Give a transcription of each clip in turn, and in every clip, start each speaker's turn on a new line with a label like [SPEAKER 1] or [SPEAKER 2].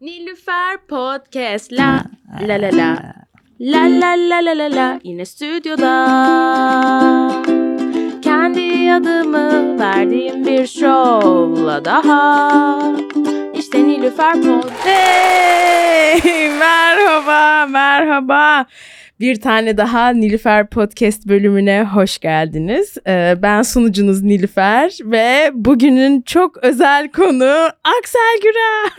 [SPEAKER 1] Nilüfer Podcast la
[SPEAKER 2] Hmm.
[SPEAKER 1] la la la. La la la la la la yine stüdyoda. Kendi adımı verdiğim bir şovla daha. İşte Nilüfer Podcast.
[SPEAKER 2] Hey! Merhaba, merhaba. Bir tane daha Nilüfer Podcast bölümüne hoş geldiniz. Ee, Ben sunucunuz Nilüfer ve bugünün çok özel konu Aksel Güra.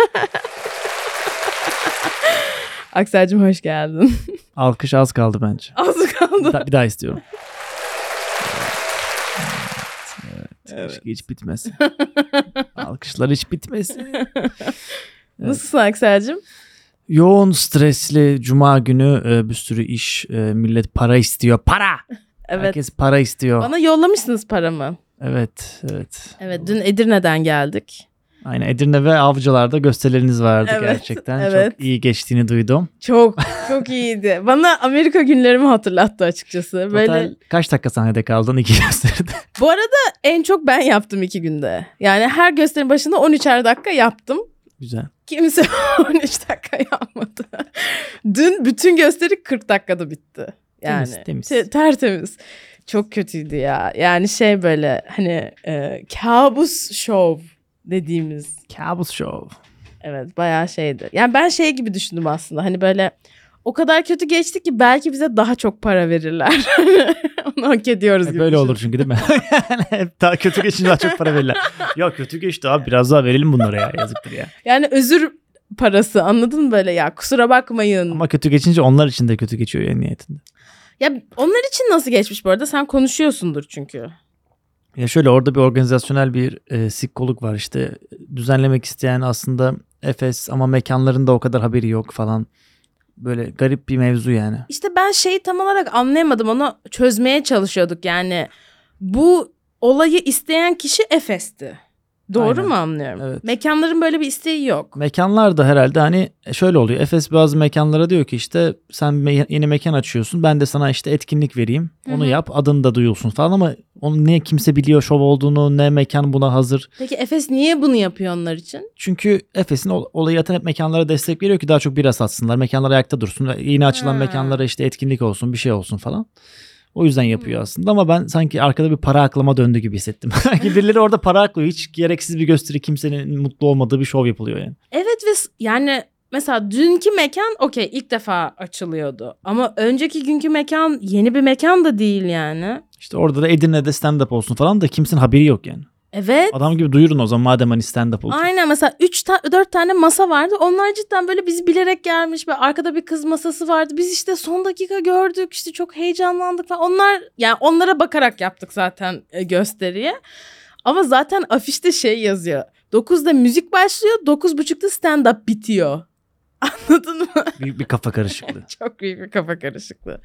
[SPEAKER 2] Aksel'cim hoş geldin.
[SPEAKER 3] Alkış az kaldı bence.
[SPEAKER 2] Az
[SPEAKER 3] Bir
[SPEAKER 2] kaldı.
[SPEAKER 3] daha, bir daha istiyorum. Evet, evet.
[SPEAKER 2] Evet.
[SPEAKER 3] Keşke hiç bitmesin. Alkışlar hiç bitmesin.
[SPEAKER 2] Nasılsın Aksel'cim?
[SPEAKER 3] Yoğun, stresli cuma günü e, bir sürü iş. e, Millet para istiyor. Para!
[SPEAKER 2] Evet.
[SPEAKER 3] Herkes para istiyor.
[SPEAKER 2] Bana yollamışsınız paramı.
[SPEAKER 3] Evet, evet.
[SPEAKER 2] Evet, dün Edirne'den geldik.
[SPEAKER 3] Aynen Edirne ve Avcılar'da gösterileriniz vardı
[SPEAKER 2] Evet,
[SPEAKER 3] gerçekten.
[SPEAKER 2] evet.
[SPEAKER 3] Çok iyi geçtiğini duydum.
[SPEAKER 2] Çok çok iyiydi. Bana Amerika günlerimi hatırlattı açıkçası.
[SPEAKER 3] Total
[SPEAKER 2] Böyle
[SPEAKER 3] kaç dakika sahnede kaldın? İki gösteride.
[SPEAKER 2] Bu arada en çok ben yaptım iki günde. Yani her gösterinin başında 13'er dakika yaptım.
[SPEAKER 3] Güzel.
[SPEAKER 2] Kimse 13 dakika yapmadı. Dün bütün gösteri 40 dakikada bitti. Yani
[SPEAKER 3] Temiz, temiz.
[SPEAKER 2] te- tertemiz. Çok kötüydü ya. Yani şey böyle hani e, kabus şov dediğimiz
[SPEAKER 3] Kabus show.
[SPEAKER 2] Evet bayağı şeydi. Yani ben şey gibi düşündüm aslında. Hani böyle o kadar kötü geçti ki belki bize daha çok para verirler. Onu hak ediyoruz
[SPEAKER 3] E,
[SPEAKER 2] gibi.
[SPEAKER 3] böyle
[SPEAKER 2] düşündüm.
[SPEAKER 3] olur çünkü değil mi? yani hep daha kötü geçince daha çok para verirler. ya kötü geçti abi biraz daha verelim bunlara ya yazıktır ya.
[SPEAKER 2] Yani özür parası anladın mı böyle ya kusura bakmayın.
[SPEAKER 3] Ama kötü geçince onlar için de kötü geçiyor yani niyetinde.
[SPEAKER 2] Ya onlar için nasıl geçmiş bu arada sen konuşuyorsundur çünkü.
[SPEAKER 3] Ya şöyle orada bir organizasyonel bir e, sikkoluk var işte düzenlemek isteyen aslında Efes ama mekanlarında o kadar haberi yok falan. Böyle garip bir mevzu yani.
[SPEAKER 2] İşte ben şeyi tam olarak anlayamadım onu çözmeye çalışıyorduk yani bu olayı isteyen kişi Efes'ti. Doğru
[SPEAKER 3] Aynen.
[SPEAKER 2] mu anlıyorum?
[SPEAKER 3] Evet.
[SPEAKER 2] Mekanların böyle bir isteği yok.
[SPEAKER 3] Mekanlar da herhalde hani şöyle oluyor. Efes bazı mekanlara diyor ki işte sen me- yeni mekan açıyorsun. Ben de sana işte etkinlik vereyim. Onu
[SPEAKER 2] Hı hı.
[SPEAKER 3] yap. Adın da duyulsun falan ama onu ne kimse biliyor şov olduğunu, ne mekan buna hazır.
[SPEAKER 2] Peki Efes niye bunu yapıyor onlar için?
[SPEAKER 3] Çünkü Efes'in ol- olayı zaten hep mekanlara destek veriyor ki daha çok biraz satsınlar. Mekanlar ayakta dursun. ve Yeni açılan
[SPEAKER 2] Ha.
[SPEAKER 3] mekanlara işte etkinlik olsun, bir şey olsun falan. O yüzden yapıyor aslında ama ben sanki arkada bir para aklama döndü gibi hissettim. Sanki birileri orada para aklıyor. Hiç gereksiz bir gösteri kimsenin mutlu olmadığı bir şov yapılıyor yani.
[SPEAKER 2] Evet ve s- yani mesela dünkü mekan okey ilk defa açılıyordu. Ama önceki günkü mekan yeni bir mekan da değil yani.
[SPEAKER 3] İşte orada da Edirne'de stand-up olsun falan da kimsenin haberi yok yani.
[SPEAKER 2] Evet.
[SPEAKER 3] Adam gibi duyurun o zaman madem hani stand-up olacak.
[SPEAKER 2] Aynen mesela 3 ta- 4 tane masa vardı. Onlar cidden böyle biz bilerek gelmiş ve arkada bir kız masası vardı. Biz işte son dakika gördük. işte çok heyecanlandık falan. Onlar yani onlara bakarak yaptık zaten e, gösteriye. Ama zaten afişte şey yazıyor. 9'da müzik başlıyor, 9.30'da stand up bitiyor. Anladın mı?
[SPEAKER 3] Büyük bir kafa karışıklığı.
[SPEAKER 2] Çok büyük bir kafa karışıklığı.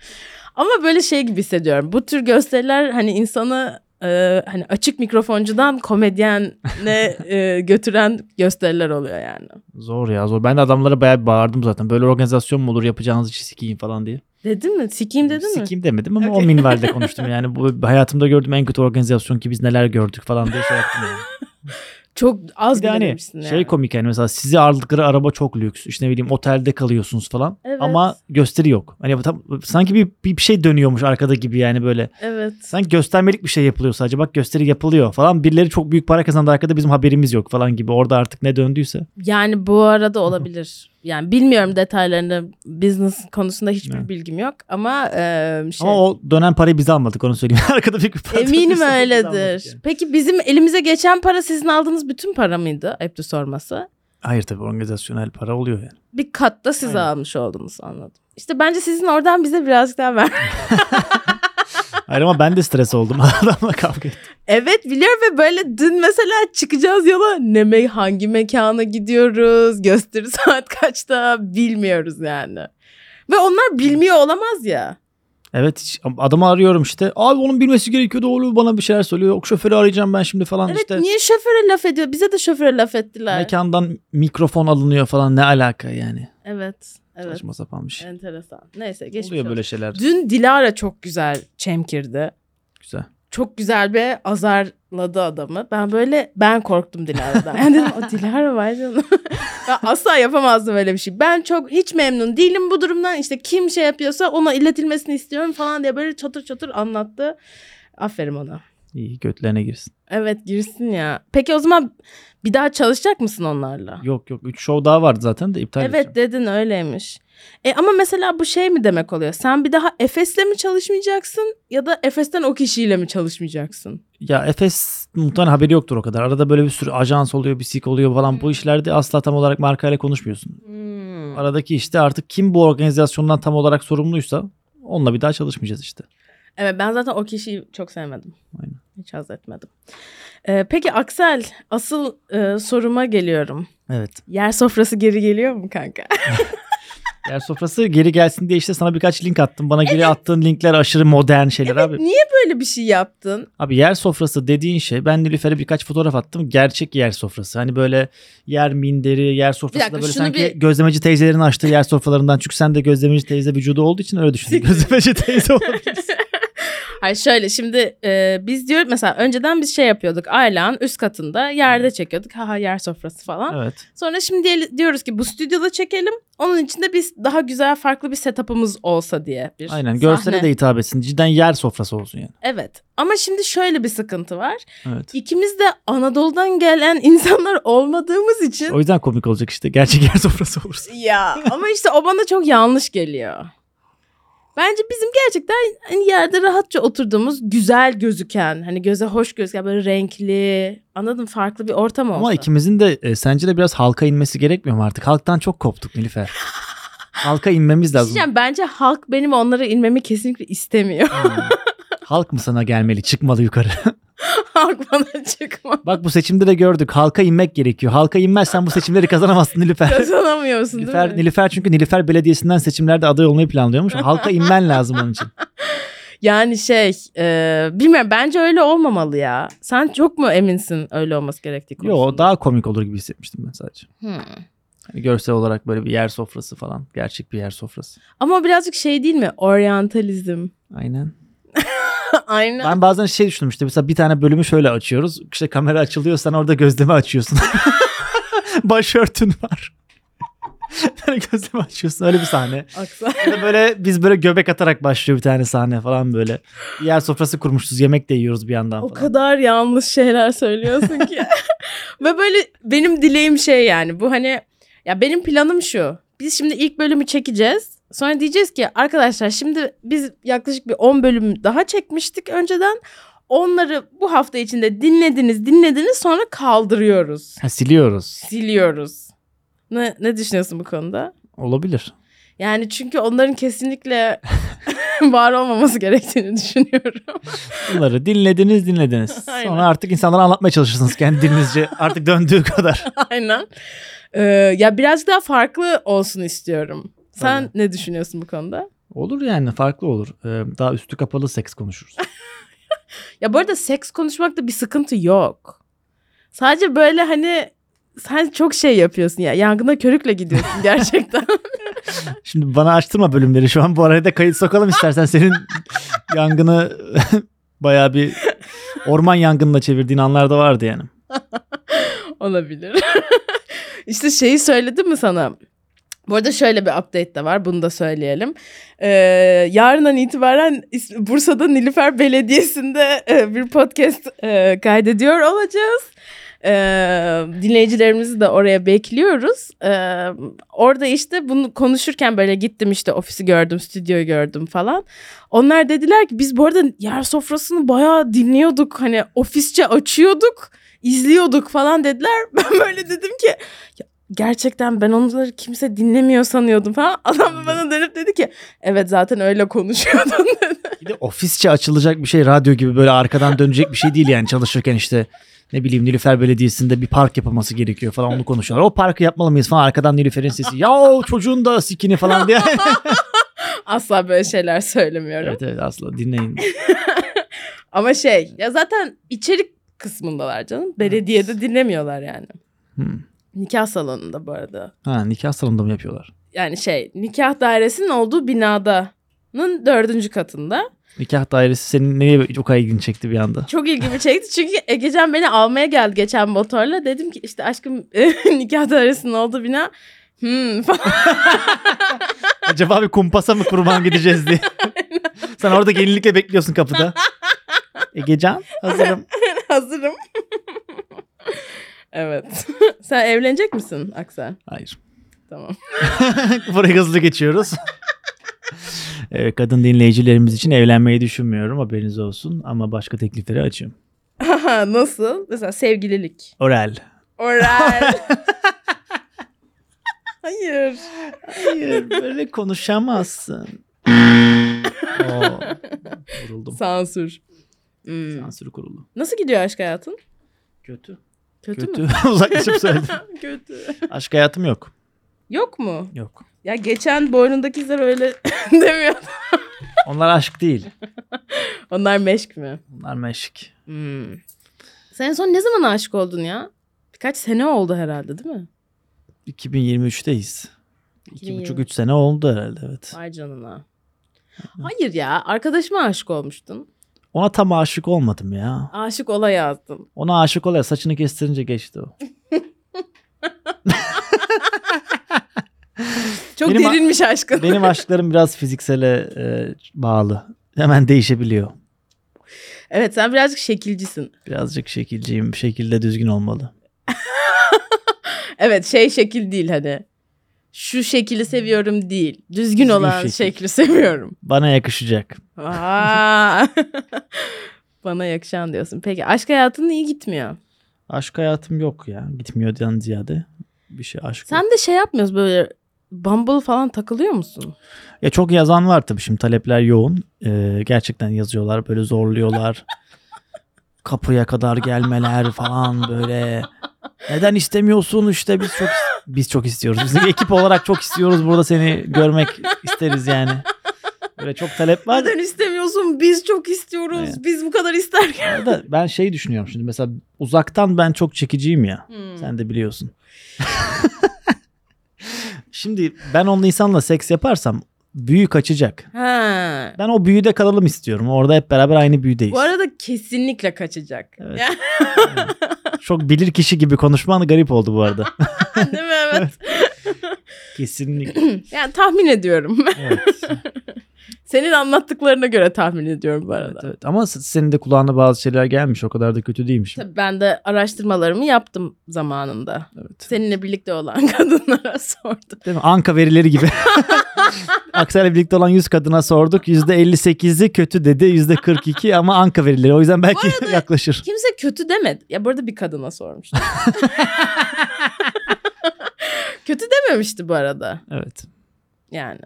[SPEAKER 2] Ama böyle şey gibi hissediyorum. Bu tür gösteriler hani insanı e, hani açık mikrofoncudan komedyene e, götüren gösteriler oluyor yani.
[SPEAKER 3] zor ya zor. Ben de adamlara bayağı bir bağırdım zaten. Böyle organizasyon mu olur yapacağınız işi sikeyim falan diye.
[SPEAKER 2] Dedin mi? Sikeyim dedin mi?
[SPEAKER 3] Sikeyim demedim ama
[SPEAKER 2] Okey.
[SPEAKER 3] o minvalde konuştum. Yani bu hayatımda gördüğüm en kötü organizasyon ki biz neler gördük falan diye şey yaptım. Yani.
[SPEAKER 2] Çok az
[SPEAKER 3] Bir de hani
[SPEAKER 2] bilinmişsin yani.
[SPEAKER 3] şey komik yani mesela sizi aldıkları araba çok lüks. İşte ne bileyim otelde kalıyorsunuz falan.
[SPEAKER 2] Evet.
[SPEAKER 3] Ama gösteri yok. Hani bu tam, sanki bir, bir bir şey dönüyormuş arkada gibi yani böyle.
[SPEAKER 2] Evet.
[SPEAKER 3] Sanki göstermelik bir şey yapılıyor sadece. Bak gösteri yapılıyor falan. Birileri çok büyük para kazandı arkada bizim haberimiz yok falan gibi. Orada artık ne döndüyse.
[SPEAKER 2] Yani bu arada olabilir. Yani bilmiyorum detaylarını. Business konusunda hiçbir
[SPEAKER 3] Evet.
[SPEAKER 2] bilgim yok ama e, şey.
[SPEAKER 3] Ama o dönen parayı biz almadık onu söyleyeyim. arkada büyük bir para
[SPEAKER 2] Eminim
[SPEAKER 3] döndüyse onu biz almadık
[SPEAKER 2] öyledir.
[SPEAKER 3] yani.
[SPEAKER 2] Peki bizim elimize geçen para sizin aldığınız bütün para mıydı? Ayıptı sorması.
[SPEAKER 3] Hayır tabii organizasyonel para oluyor yani.
[SPEAKER 2] bir katta siz
[SPEAKER 3] Aynen.
[SPEAKER 2] almış oldunuz anladım. İşte bence sizin oradan bize birazcık daha ver.
[SPEAKER 3] Hayır ama ben de stres oldum. Adamla kavga ettim.
[SPEAKER 2] evet biliyorum ve böyle dün mesela çıkacağız yola ne me- hangi mekana gidiyoruz gösteri saat kaçta bilmiyoruz yani. Ve onlar bilmiyor olamaz ya.
[SPEAKER 3] Evet hiç- adamı arıyorum işte. Abi onun bilmesi gerekiyordu. Oğlu bana bir şeyler söylüyor. Yok şoförü arayacağım ben şimdi falan
[SPEAKER 2] Evet
[SPEAKER 3] işte.
[SPEAKER 2] niye şoföre laf ediyor? Bize de şoföre laf ettiler.
[SPEAKER 3] Mekandan mikrofon alınıyor falan ne alaka yani.
[SPEAKER 2] Evet. Evet.
[SPEAKER 3] Saçma sapan bir şey.
[SPEAKER 2] Enteresan. Neyse geçmiş
[SPEAKER 3] Oluyor
[SPEAKER 2] olsun.
[SPEAKER 3] böyle şeyler.
[SPEAKER 2] Dün Dilara çok güzel çemkirdi.
[SPEAKER 3] Güzel.
[SPEAKER 2] çok güzel bir azarladı adamı. Ben böyle ben korktum Dilara'dan. Yani dedim o Dilara var canım. ben asla yapamazdım öyle bir şey. Ben çok hiç memnun değilim bu durumdan. İşte kim şey yapıyorsa ona iletilmesini istiyorum falan diye böyle çatır çatır anlattı. Aferin ona.
[SPEAKER 3] İyi götlerine girsin.
[SPEAKER 2] Evet girsin ya. Peki o zaman bir daha çalışacak mısın onlarla?
[SPEAKER 3] Yok yok 3 show daha vardı zaten de iptal edeceğim.
[SPEAKER 2] Evet dedin öyleymiş. E ama mesela bu şey mi demek oluyor? Sen bir daha Efes'le mi çalışmayacaksın ya da Efes'ten o kişiyle mi çalışmayacaksın?
[SPEAKER 3] Ya Efes muhtemelen haberi yoktur o kadar. Arada böyle bir sürü ajans oluyor, bisik oluyor falan. Bu işlerde asla tam olarak markayla konuşmuyorsun.
[SPEAKER 2] Hmm.
[SPEAKER 3] Aradaki işte artık kim bu organizasyondan tam olarak sorumluysa onunla bir daha çalışmayacağız işte.
[SPEAKER 2] Evet ben zaten o kişiyi çok sevmedim.
[SPEAKER 3] Aynen.
[SPEAKER 2] Hiç haz etmedim. E, peki Aksel asıl e, soruma geliyorum.
[SPEAKER 3] Evet.
[SPEAKER 2] Yer sofrası geri geliyor mu kanka?
[SPEAKER 3] Yer sofrası geri gelsin diye işte sana birkaç link attım. Bana geri attığın linkler aşırı modern şeyler abi.
[SPEAKER 2] Niye böyle bir şey yaptın?
[SPEAKER 3] Abi yer sofrası dediğin şey ben Nilüfer'e birkaç fotoğraf attım. Gerçek yer sofrası. Hani böyle yer minderi, yer sofrası
[SPEAKER 2] dakika,
[SPEAKER 3] da böyle
[SPEAKER 2] şunu
[SPEAKER 3] sanki
[SPEAKER 2] bir-
[SPEAKER 3] gözlemeci teyzelerin açtığı yer sofralarından. Çünkü sen de gözlemeci teyze vücudu olduğu için öyle düşündün. gözlemeci teyze olabilirsin.
[SPEAKER 2] Hayır şöyle şimdi e, biz diyor mesela önceden biz şey yapıyorduk. Ailen üst katında yerde çekiyorduk. Haha yer sofrası falan.
[SPEAKER 3] evet.
[SPEAKER 2] Sonra şimdi diyel- diyoruz ki bu stüdyoda çekelim. Onun içinde biz daha güzel farklı bir setup'ımız olsa diye bir
[SPEAKER 3] Aynen.
[SPEAKER 2] sahne.
[SPEAKER 3] Görsele de hitap etsin. Cidden yer sofrası olsun yani.
[SPEAKER 2] Evet. Ama şimdi şöyle bir sıkıntı var.
[SPEAKER 3] Evet.
[SPEAKER 2] İkimiz de Anadolu'dan gelen insanlar olmadığımız için
[SPEAKER 3] O yüzden komik olacak işte. Gerçek yer sofrası olursa.
[SPEAKER 2] ya ama işte o bana çok yanlış geliyor. Bence bizim gerçekten hani yerde rahatça oturduğumuz güzel gözüken hani göze hoş gözüken böyle renkli anladın mı? farklı bir ortam olsa.
[SPEAKER 3] Ama ikimizin de e, sence de biraz halka inmesi gerekmiyor mu artık? Halktan çok koptuk Nilüfer. halka inmemiz lazım.
[SPEAKER 2] Diyeceğim, bence halk benim onlara inmemi kesinlikle istemiyor.
[SPEAKER 3] Halk mı sana gelmeli? Çıkmalı yukarı.
[SPEAKER 2] halk bana çıkma.
[SPEAKER 3] Bak bu seçimde de gördük. Halka inmek gerekiyor. Halka inmezsen bu seçimleri kazanamazsın Nilüfer.
[SPEAKER 2] Kazanamıyorsun değil
[SPEAKER 3] Nilüfer,
[SPEAKER 2] mi?
[SPEAKER 3] Nilüfer çünkü Nilüfer Belediyesi'nden seçimlerde aday olmayı planlıyormuş. Halka inmen lazım onun için.
[SPEAKER 2] Yani şey e, bilmiyorum bence öyle olmamalı ya. Sen çok mu eminsin öyle olması gerektiği
[SPEAKER 3] Yo
[SPEAKER 2] konusunda?
[SPEAKER 3] o daha komik olur gibi hissetmiştim ben sadece.
[SPEAKER 2] Hmm.
[SPEAKER 3] Hani görsel olarak böyle bir yer sofrası falan. Gerçek bir yer sofrası.
[SPEAKER 2] Ama birazcık şey değil mi? Oryantalizm.
[SPEAKER 3] Aynen.
[SPEAKER 2] Aynen.
[SPEAKER 3] Ben bazen şey düşündüm işte mesela bir tane bölümü şöyle açıyoruz. İşte kamera açılıyor sen orada gözleme açıyorsun. Başörtün var. Böyle gözleme açıyorsun öyle bir sahne.
[SPEAKER 2] Aksa.
[SPEAKER 3] Ya da böyle biz böyle göbek atarak başlıyor bir tane sahne falan böyle. Yer sofrası kurmuşuz yemek de yiyoruz bir yandan
[SPEAKER 2] O
[SPEAKER 3] falan.
[SPEAKER 2] kadar yanlış şeyler söylüyorsun ki. Ve böyle benim dileğim şey yani bu hani ya benim planım şu. Biz şimdi ilk bölümü çekeceğiz. Sonra diyeceğiz ki arkadaşlar şimdi biz yaklaşık bir 10 bölüm daha çekmiştik önceden. Onları bu hafta içinde dinlediniz dinlediniz sonra kaldırıyoruz.
[SPEAKER 3] Ha, siliyoruz.
[SPEAKER 2] Siliyoruz. Ne, ne düşünüyorsun bu konuda?
[SPEAKER 3] Olabilir.
[SPEAKER 2] Yani çünkü onların kesinlikle var olmaması gerektiğini düşünüyorum.
[SPEAKER 3] Bunları dinlediniz dinlediniz.
[SPEAKER 2] Aynen.
[SPEAKER 3] Sonra artık insanlara anlatmaya çalışırsınız kendi dilinizce artık döndüğü kadar.
[SPEAKER 2] Aynen. Ee, ya biraz daha farklı olsun istiyorum. Sen
[SPEAKER 3] Tabii.
[SPEAKER 2] ne düşünüyorsun bu konuda?
[SPEAKER 3] Olur yani farklı olur. Ee, daha üstü kapalı seks konuşuruz.
[SPEAKER 2] Ya bu arada seks konuşmakta bir sıkıntı yok. Sadece böyle hani sen çok şey yapıyorsun ya. Yangına körükle gidiyorsun gerçekten.
[SPEAKER 3] Şimdi bana açtırma bölümleri şu an bu araya da kayıt sokalım istersen senin yangını bayağı bir orman yangınına çevirdiğin anlar da vardı yani.
[SPEAKER 2] Olabilir. işte şeyi söyledim mi sana? Bu arada şöyle bir update de var. Bunu da söyleyelim. Ee, yarından itibaren İs- Bursa'da Nilüfer Belediyesi'nde e, bir podcast e, kaydediyor olacağız. Ee, dinleyicilerimizi de oraya bekliyoruz. Ee, orada işte bunu konuşurken böyle gittim işte ofisi gördüm, stüdyoyu gördüm falan. Onlar dediler ki biz bu arada yer sofrasını bayağı dinliyorduk. Hani ofisçe açıyorduk, izliyorduk falan dediler. Ben böyle dedim ki "Ya gerçekten ben onları kimse dinlemiyor sanıyordum falan. Adam da bana dönüp dedi ki evet zaten öyle konuşuyordun dedi.
[SPEAKER 3] Bir de ofisçe açılacak bir şey radyo gibi böyle arkadan dönecek bir şey değil yani çalışırken işte ne bileyim Nilüfer Belediyesi'nde bir park yapılması gerekiyor falan onu konuşuyorlar. O parkı yapmalı mıyız falan arkadan Nilüfer'in sesi ya çocuğun da sikini falan diye.
[SPEAKER 2] Asla böyle şeyler söylemiyorum.
[SPEAKER 3] evet evet asla dinleyin.
[SPEAKER 2] Ama şey ya zaten içerik kısmındalar canım. Belediyede dinlemiyorlar yani.
[SPEAKER 3] Hmm.
[SPEAKER 2] Nikah salonunda bu arada.
[SPEAKER 3] Ha nikah salonunda mı yapıyorlar?
[SPEAKER 2] Yani şey nikah dairesinin olduğu binada dördüncü katında
[SPEAKER 3] Nikah dairesi senin neye o kadar ilgini çekti bir anda?
[SPEAKER 2] Çok ilgimi çekti çünkü Egecan beni almaya geldi geçen motorla. Dedim ki işte aşkım nikah dairesinin olduğu bina. Hmm falan.
[SPEAKER 3] Acaba bir kumpasa mı kurban gideceğiz diye. Sen orada gelinlikle bekliyorsun kapıda. Egecan hazırım.
[SPEAKER 2] hazırım. evet. Sen evlenecek misin Aksel?
[SPEAKER 3] Hayır.
[SPEAKER 2] Tamam.
[SPEAKER 3] Burayı hızlı geçiyoruz. Evet, kadın dinleyicilerimiz için evlenmeyi düşünmüyorum haberiniz olsun ama başka teklifleri açayım.
[SPEAKER 2] Nasıl? Mesela sevgililik.
[SPEAKER 3] Oral.
[SPEAKER 2] Oral. Hayır.
[SPEAKER 3] Hayır böyle konuşamazsın. Oo, vuruldum.
[SPEAKER 2] Sansür. Hmm.
[SPEAKER 3] Sansür kurulu.
[SPEAKER 2] Nasıl gidiyor aşk hayatın?
[SPEAKER 3] Kötü.
[SPEAKER 2] Kötü,
[SPEAKER 3] Kötü.
[SPEAKER 2] mü?
[SPEAKER 3] Uzaklaşıp söyledim.
[SPEAKER 2] Kötü.
[SPEAKER 3] Aşk hayatım yok.
[SPEAKER 2] Yok mu?
[SPEAKER 3] Yok.
[SPEAKER 2] Ya geçen boynundakiler öyle demiyor.
[SPEAKER 3] Onlar aşk değil.
[SPEAKER 2] Onlar meşk mi?
[SPEAKER 3] Onlar meşk.
[SPEAKER 2] Hmm. Sen en son ne zaman aşık oldun ya? Birkaç sene oldu herhalde değil mi?
[SPEAKER 3] 2023'teyiz. İki
[SPEAKER 2] 2023.
[SPEAKER 3] buçuk üç sene oldu herhalde evet.
[SPEAKER 2] Vay canına. Hayır ya arkadaşıma aşık olmuştun.
[SPEAKER 3] Ona tam aşık olmadım ya.
[SPEAKER 2] Aşık ola yazdın.
[SPEAKER 3] Ona aşık olaya saçını kestirince geçti o.
[SPEAKER 2] Çok
[SPEAKER 3] Benim a-
[SPEAKER 2] derinmiş aşkın.
[SPEAKER 3] Benim aşklarım biraz fiziksele e, bağlı. Hemen değişebiliyor.
[SPEAKER 2] Evet sen birazcık şekilcisin.
[SPEAKER 3] Birazcık şekilciyim. Şekilde düzgün olmalı.
[SPEAKER 2] Evet şey şekil değil hani. Şu şekili seviyorum değil. Düzgün, olan
[SPEAKER 3] şekil.
[SPEAKER 2] şekli seviyorum.
[SPEAKER 3] Bana yakışacak.
[SPEAKER 2] Aa. Bana yakışan diyorsun. Peki aşk hayatın iyi gitmiyor.
[SPEAKER 3] Aşk hayatım yok ya. Gitmiyordan ziyade bir şey aşk. yok.
[SPEAKER 2] Sen de şey yapmıyoruz böyle Bumble falan takılıyor musun?
[SPEAKER 3] Ya çok yazan var tabii şimdi talepler yoğun. Ee, gerçekten yazıyorlar böyle zorluyorlar. Kapıya kadar gelmeler falan böyle. Neden istemiyorsun işte biz çok biz çok istiyoruz. Biz ekip olarak çok istiyoruz burada seni görmek isteriz yani. Böyle çok talep var.
[SPEAKER 2] Neden istemiyorsun? Biz çok istiyoruz.
[SPEAKER 3] Evet.
[SPEAKER 2] Biz bu kadar isterken.
[SPEAKER 3] Da ben şey düşünüyorum şimdi mesela uzaktan ben çok çekiciyim ya.
[SPEAKER 2] Hmm.
[SPEAKER 3] Sen de biliyorsun. şimdi ben onunla insanla seks yaparsam büyü kaçacak.
[SPEAKER 2] Ha.
[SPEAKER 3] Ben o büyüde kalalım istiyorum. Orada hep beraber aynı büyüdeyiz.
[SPEAKER 2] Bu arada kesinlikle kaçacak.
[SPEAKER 3] Evet.
[SPEAKER 2] Yani,
[SPEAKER 3] Çok bilir kişi gibi konuşman garip oldu bu arada.
[SPEAKER 2] değil mi? Evet.
[SPEAKER 3] Kesinlikle.
[SPEAKER 2] Yani tahmin ediyorum.
[SPEAKER 3] Evet.
[SPEAKER 2] Senin anlattıklarına göre tahmin ediyorum bu arada.
[SPEAKER 3] Evet, evet. Ama s- senin de kulağına bazı şeyler gelmiş. O kadar da kötü değilmiş.
[SPEAKER 2] Tabii ben de araştırmalarımı yaptım zamanında.
[SPEAKER 3] Evet.
[SPEAKER 2] Seninle birlikte olan kadınlara sordum.
[SPEAKER 3] Değil mi? Anka verileri gibi. Aksel'le birlikte olan 100 kadına sorduk. %58'i kötü dedi. %42 ama Anka verileri. O yüzden belki yaklaşır.
[SPEAKER 2] Kimse kötü demedi. Ya burada bir kadına sormuştum. kötü dememişti bu arada
[SPEAKER 3] Evet.
[SPEAKER 2] yani.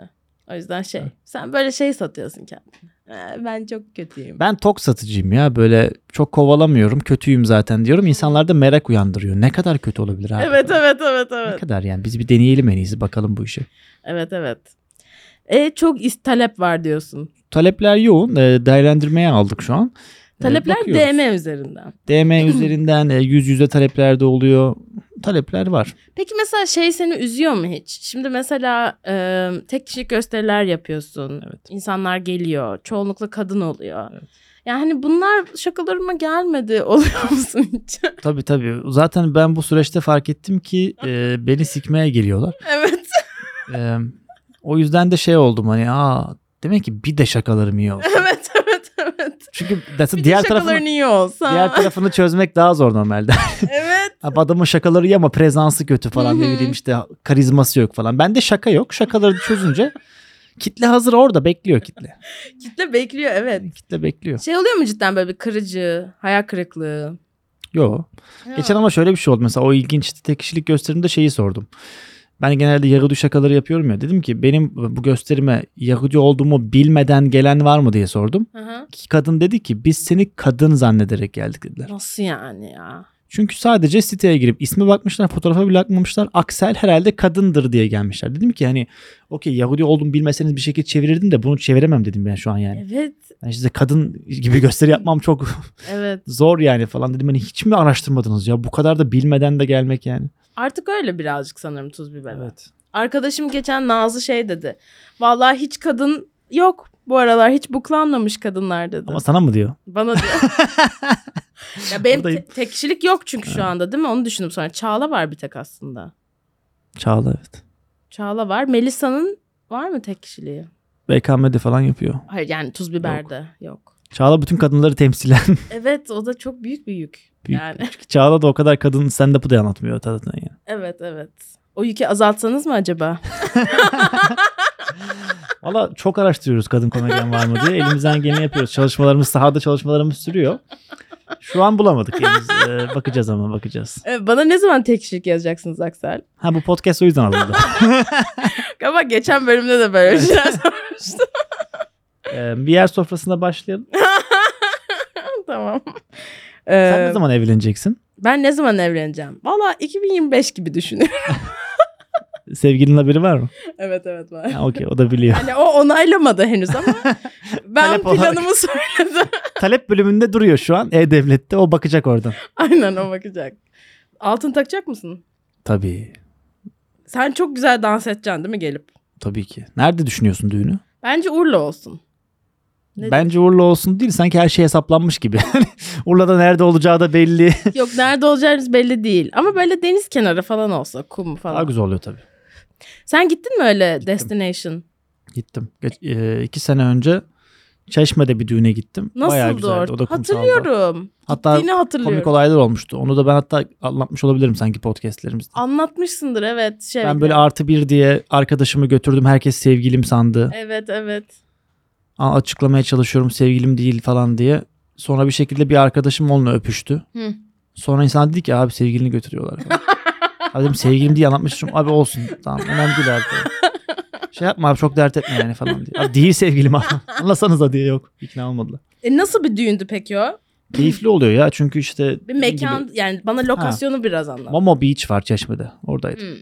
[SPEAKER 2] O yüzden şey. Sen böyle şey satıyorsun kendine. Ee, Ben çok kötüyüm.
[SPEAKER 3] Ben tok satıcıyım ya. Böyle çok kovalamıyorum. Kötüyüm zaten diyorum. İnsanlarda merak uyandırıyor. Ne kadar kötü olabilir abi?
[SPEAKER 2] Evet evet evet
[SPEAKER 3] Ne
[SPEAKER 2] evet.
[SPEAKER 3] kadar yani? Biz bir deneyelim en iyisi. Bakalım bu işi.
[SPEAKER 2] Evet evet. E, çok is talep var diyorsun.
[SPEAKER 3] Talepler yoğun. E, değerlendirmeye aldık şu an. E,
[SPEAKER 2] Talepler
[SPEAKER 3] bakıyoruz.
[SPEAKER 2] DM üzerinden.
[SPEAKER 3] DM üzerinden e, yüz yüze talepler de oluyor. Talepler var.
[SPEAKER 2] Peki mesela şey seni üzüyor mu hiç? Şimdi mesela e, tek kişilik gösteriler yapıyorsun.
[SPEAKER 3] Evet.
[SPEAKER 2] İnsanlar geliyor. Çoğunlukla kadın oluyor.
[SPEAKER 3] Evet.
[SPEAKER 2] Yani bunlar şakalarıma gelmedi oluyor musun hiç?
[SPEAKER 3] Tabii tabii. Zaten ben bu süreçte fark ettim ki e, beni sikmeye geliyorlar.
[SPEAKER 2] evet.
[SPEAKER 3] E, o yüzden de şey oldum hani aa demek ki bir de şakalarım iyi olsun.
[SPEAKER 2] Evet evet evet.
[SPEAKER 3] Çünkü
[SPEAKER 2] Bir
[SPEAKER 3] diğer
[SPEAKER 2] de şakaların
[SPEAKER 3] tarafını
[SPEAKER 2] iyi olsa.
[SPEAKER 3] diğer tarafını çözmek daha zor normalde.
[SPEAKER 2] evet.
[SPEAKER 3] Abi Adamın şakaları iyi ama prezansı kötü falan
[SPEAKER 2] Hı hı.
[SPEAKER 3] ne bileyim işte karizması yok falan. Bende şaka yok. Şakaları çözünce kitle hazır orada bekliyor kitle.
[SPEAKER 2] Kitle bekliyor evet.
[SPEAKER 3] Kitle bekliyor.
[SPEAKER 2] Şey oluyor mu cidden böyle bir kırıcı, hayal kırıklığı?
[SPEAKER 3] Yo. Geçen ama şöyle bir şey oldu. Mesela o ilginçti. Tek kişilik gösterimde şeyi sordum. Ben genelde Yahudi şakaları yapıyorum ya. Dedim ki benim bu gösterime Yahudi olduğumu bilmeden gelen var mı diye sordum.
[SPEAKER 2] Hı hı.
[SPEAKER 3] İki Kadın dedi ki biz seni kadın zannederek geldik dediler.
[SPEAKER 2] Nasıl yani ya?
[SPEAKER 3] Çünkü sadece siteye girip isme bakmışlar, fotoğrafa bile bakmamışlar. Aksel herhalde kadındır diye gelmişler. Dedim ki hani okey Yahudi olduğumu bilmeseniz bir şekilde çevirirdim de bunu çeviremem dedim ben şu an yani.
[SPEAKER 2] Evet.
[SPEAKER 3] Yani size kadın gibi gösteri yapmam çok
[SPEAKER 2] Evet.
[SPEAKER 3] zor yani falan dedim. Hani hiç mi araştırmadınız ya? Bu kadar da bilmeden de gelmek yani.
[SPEAKER 2] Artık öyle birazcık sanırım tuz biber. Arkadaşım geçen Nazlı şey dedi. Vallahi hiç kadın Yok bu aralar hiç buklanmamış kadınlar dedi.
[SPEAKER 3] Ama sana mı diyor?
[SPEAKER 2] Bana diyor. ya benim
[SPEAKER 3] Buradayım.
[SPEAKER 2] te- tek kişilik yok çünkü şu anda değil mi? Onu düşündüm sonra. Çağla var bir tek aslında.
[SPEAKER 3] Çağla evet.
[SPEAKER 2] Çağla var. Melisa'nın var mı tek kişiliği?
[SPEAKER 3] BKM'de falan yapıyor.
[SPEAKER 2] Hayır yani tuz biberde yok.
[SPEAKER 3] Çağla bütün kadınları temsilen.
[SPEAKER 2] Evet o da çok büyük bir yük.
[SPEAKER 3] Büyük
[SPEAKER 2] yani
[SPEAKER 3] Çağla da o kadar kadın stand-up'ı da anlatmıyor zaten yani.
[SPEAKER 2] evet evet. O yükü azaltsanız mı acaba?
[SPEAKER 3] Valla çok araştırıyoruz kadın komedyen var mı diye. Elimizden geleni yapıyoruz. Çalışmalarımız sahada çalışmalarımız sürüyor. Şu an bulamadık henüz. Ee, bakacağız ama bakacağız.
[SPEAKER 2] Evet, Bana ne zaman tek kişilik yazacaksınız Aksel?
[SPEAKER 3] Ha bu podcast o yüzden alındı.
[SPEAKER 2] Ama geçen bölümde de böyle şey şeyler sormuştum.
[SPEAKER 3] Ee, bir yer sofrasında başlayalım.
[SPEAKER 2] tamam.
[SPEAKER 3] Sen
[SPEAKER 2] Ee,
[SPEAKER 3] ne zaman evleneceksin?
[SPEAKER 2] Ben ne zaman evleneceğim? Valla 2025 gibi düşünüyorum.
[SPEAKER 3] Sevgilinin haberi var mı?
[SPEAKER 2] evet evet var.
[SPEAKER 3] Ha, okey o da biliyor.
[SPEAKER 2] Yani Hani o onaylamadı henüz ama ben
[SPEAKER 3] Talep olarak.
[SPEAKER 2] planımı söyledim.
[SPEAKER 3] Talep bölümünde duruyor şu an. E-Devlet'te o bakacak oradan.
[SPEAKER 2] Aynen o bakacak. Altın takacak mısın?
[SPEAKER 3] Tabii.
[SPEAKER 2] Sen çok güzel dans edeceksin değil mi gelip?
[SPEAKER 3] Tabii ki. Nerede düşünüyorsun düğünü?
[SPEAKER 2] Bence Urla olsun. Ne-
[SPEAKER 3] Bence Urla olsun değil. Sanki her şey hesaplanmış gibi. Urla'da nerede olacağı da belli.
[SPEAKER 2] Yok nerede olacağınız belli değil. Ama böyle deniz kenarı falan olsa kum falan.
[SPEAKER 3] Daha güzel oluyor tabii.
[SPEAKER 2] Sen gittin mi öyle destination?
[SPEAKER 3] Gittim. Geç, e, iki sene önce Çeşme'de bir düğüne gittim. Bayağı
[SPEAKER 2] Nasıldı
[SPEAKER 3] güzeldi. O da
[SPEAKER 2] orada?
[SPEAKER 3] kumsalda.
[SPEAKER 2] Hatırlıyorum.
[SPEAKER 3] Hatta
[SPEAKER 2] Yine
[SPEAKER 3] komik
[SPEAKER 2] hatırlıyorum.
[SPEAKER 3] olaylar olmuştu. Onu da ben hatta anlatmış olabilirim sanki podcastlerimizde.
[SPEAKER 2] Anlatmışsındır evet. Şey,
[SPEAKER 3] Ben böyle artı bir diye arkadaşımı götürdüm. Herkes sevgilim sandı.
[SPEAKER 2] Evet evet.
[SPEAKER 3] Aa, Açıklamaya çalışıyorum sevgilim değil falan diye. Sonra bir şekilde bir arkadaşım onunla öpüştü.
[SPEAKER 2] Hı.
[SPEAKER 3] Sonra insan dedi ki abi sevgilini götürüyorlar. falan. abi dedim sevgilim diye anlatmıştım. Abi olsun tamam önemli değil abi. Şey yapma abi çok dert etme yani falan diye. Abi değil sevgilim abi. Anlasanıza diye yok. İkna olmadılar.
[SPEAKER 2] E, nasıl bir düğündü peki o?
[SPEAKER 3] Keyifli oluyor ya çünkü işte
[SPEAKER 2] Bir mekan yani bana lokasyonu biraz anlat.
[SPEAKER 3] Momo Beach var Çeşme'de. Oradaydı.
[SPEAKER 2] Hmm.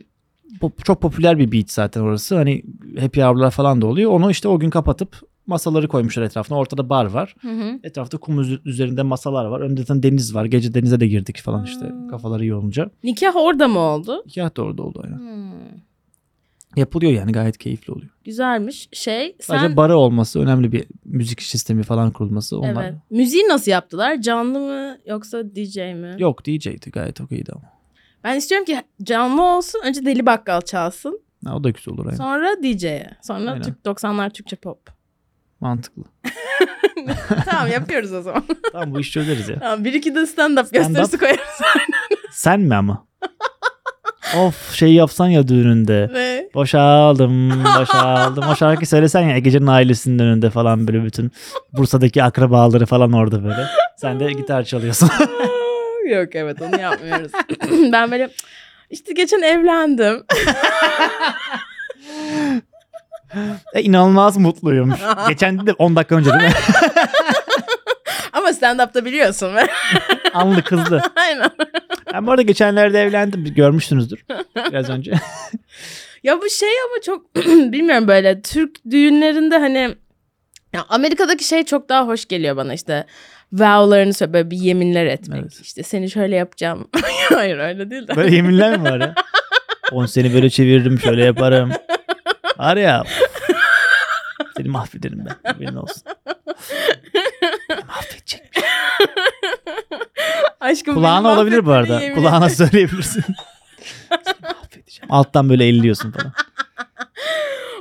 [SPEAKER 3] Pop- çok popüler bir beach zaten orası. Hani happy hour'lar falan da oluyor. Onu işte o gün kapatıp masaları koymuşlar etrafına. Ortada bar var.
[SPEAKER 2] Hı hı.
[SPEAKER 3] Etrafta kum üz- üzerinde masalar var. Önde zaten deniz var. Gece denize de girdik falan işte
[SPEAKER 2] Aa.
[SPEAKER 3] kafaları iyi olunca.
[SPEAKER 2] Nikah orada mı oldu?
[SPEAKER 3] Hikayet de orada oldu. Yani.
[SPEAKER 2] Hmm.
[SPEAKER 3] Yapılıyor yani gayet keyifli oluyor.
[SPEAKER 2] Güzelmiş. Şey
[SPEAKER 3] Sadece
[SPEAKER 2] sen
[SPEAKER 3] barı olması önemli bir müzik sistemi falan kurulması. Onlar
[SPEAKER 2] evet. Müziği nasıl yaptılar? Canlı mı yoksa DJ mi?
[SPEAKER 3] Yok DJ'di gayet okeydi ama.
[SPEAKER 2] Ben istiyorum ki canlı olsun. Önce Deli Bakkal çalsın.
[SPEAKER 3] Ha, o da güzel olur. aynen.
[SPEAKER 2] Sonra DJ'ye. Sonra
[SPEAKER 3] Aynen.
[SPEAKER 2] Türk 90'lar Türkçe pop.
[SPEAKER 3] Mantıklı.
[SPEAKER 2] tamam yapıyoruz o zaman.
[SPEAKER 3] tamam bu işi çözeriz ya.
[SPEAKER 2] tamam, bir iki de stand up gösterisi koyarız.
[SPEAKER 3] Sen mi ama? of şey yapsan ya düğününde.
[SPEAKER 2] Ve
[SPEAKER 3] Boşaldım, boşaldım. O şarkıyı söylesen ya Ege'nin ailesinin önünde falan böyle bütün Bursa'daki akrabaları falan orada böyle. Sen de gitar çalıyorsun.
[SPEAKER 2] Yok evet onu yapmıyoruz. ben böyle işte geçen evlendim.
[SPEAKER 3] e, inanılmaz mutluyum. Geçen de 10 dakika önce değil mi?
[SPEAKER 2] Ama stand-up'ta biliyorsun.
[SPEAKER 3] Anlı kızdı.
[SPEAKER 2] Aynen.
[SPEAKER 3] Ben bu arada geçenlerde evlendim. Görmüşsünüzdür biraz önce.
[SPEAKER 2] Ya bu şey ama çok bilmiyorum böyle Türk düğünlerinde hani ya Amerika'daki şey çok daha hoş geliyor bana işte vow'larını söyle böyle bir yeminler etmek.
[SPEAKER 3] Evet.
[SPEAKER 2] İşte seni şöyle yapacağım. Hayır öyle değil de.
[SPEAKER 3] Böyle yeminler mi var ya? On seni böyle çeviririm şöyle yaparım. Var ya. Seni mahvederim ben. Haberin olsun. Beni mahvedecek.
[SPEAKER 2] Aşkım
[SPEAKER 3] Kulağına
[SPEAKER 2] benim
[SPEAKER 3] olabilir bu arada.
[SPEAKER 2] affettiğini yemin-
[SPEAKER 3] Kulağına söyleyebilirsin. Seni mahvedeceğim. Alttan böyle elliyorsun falan.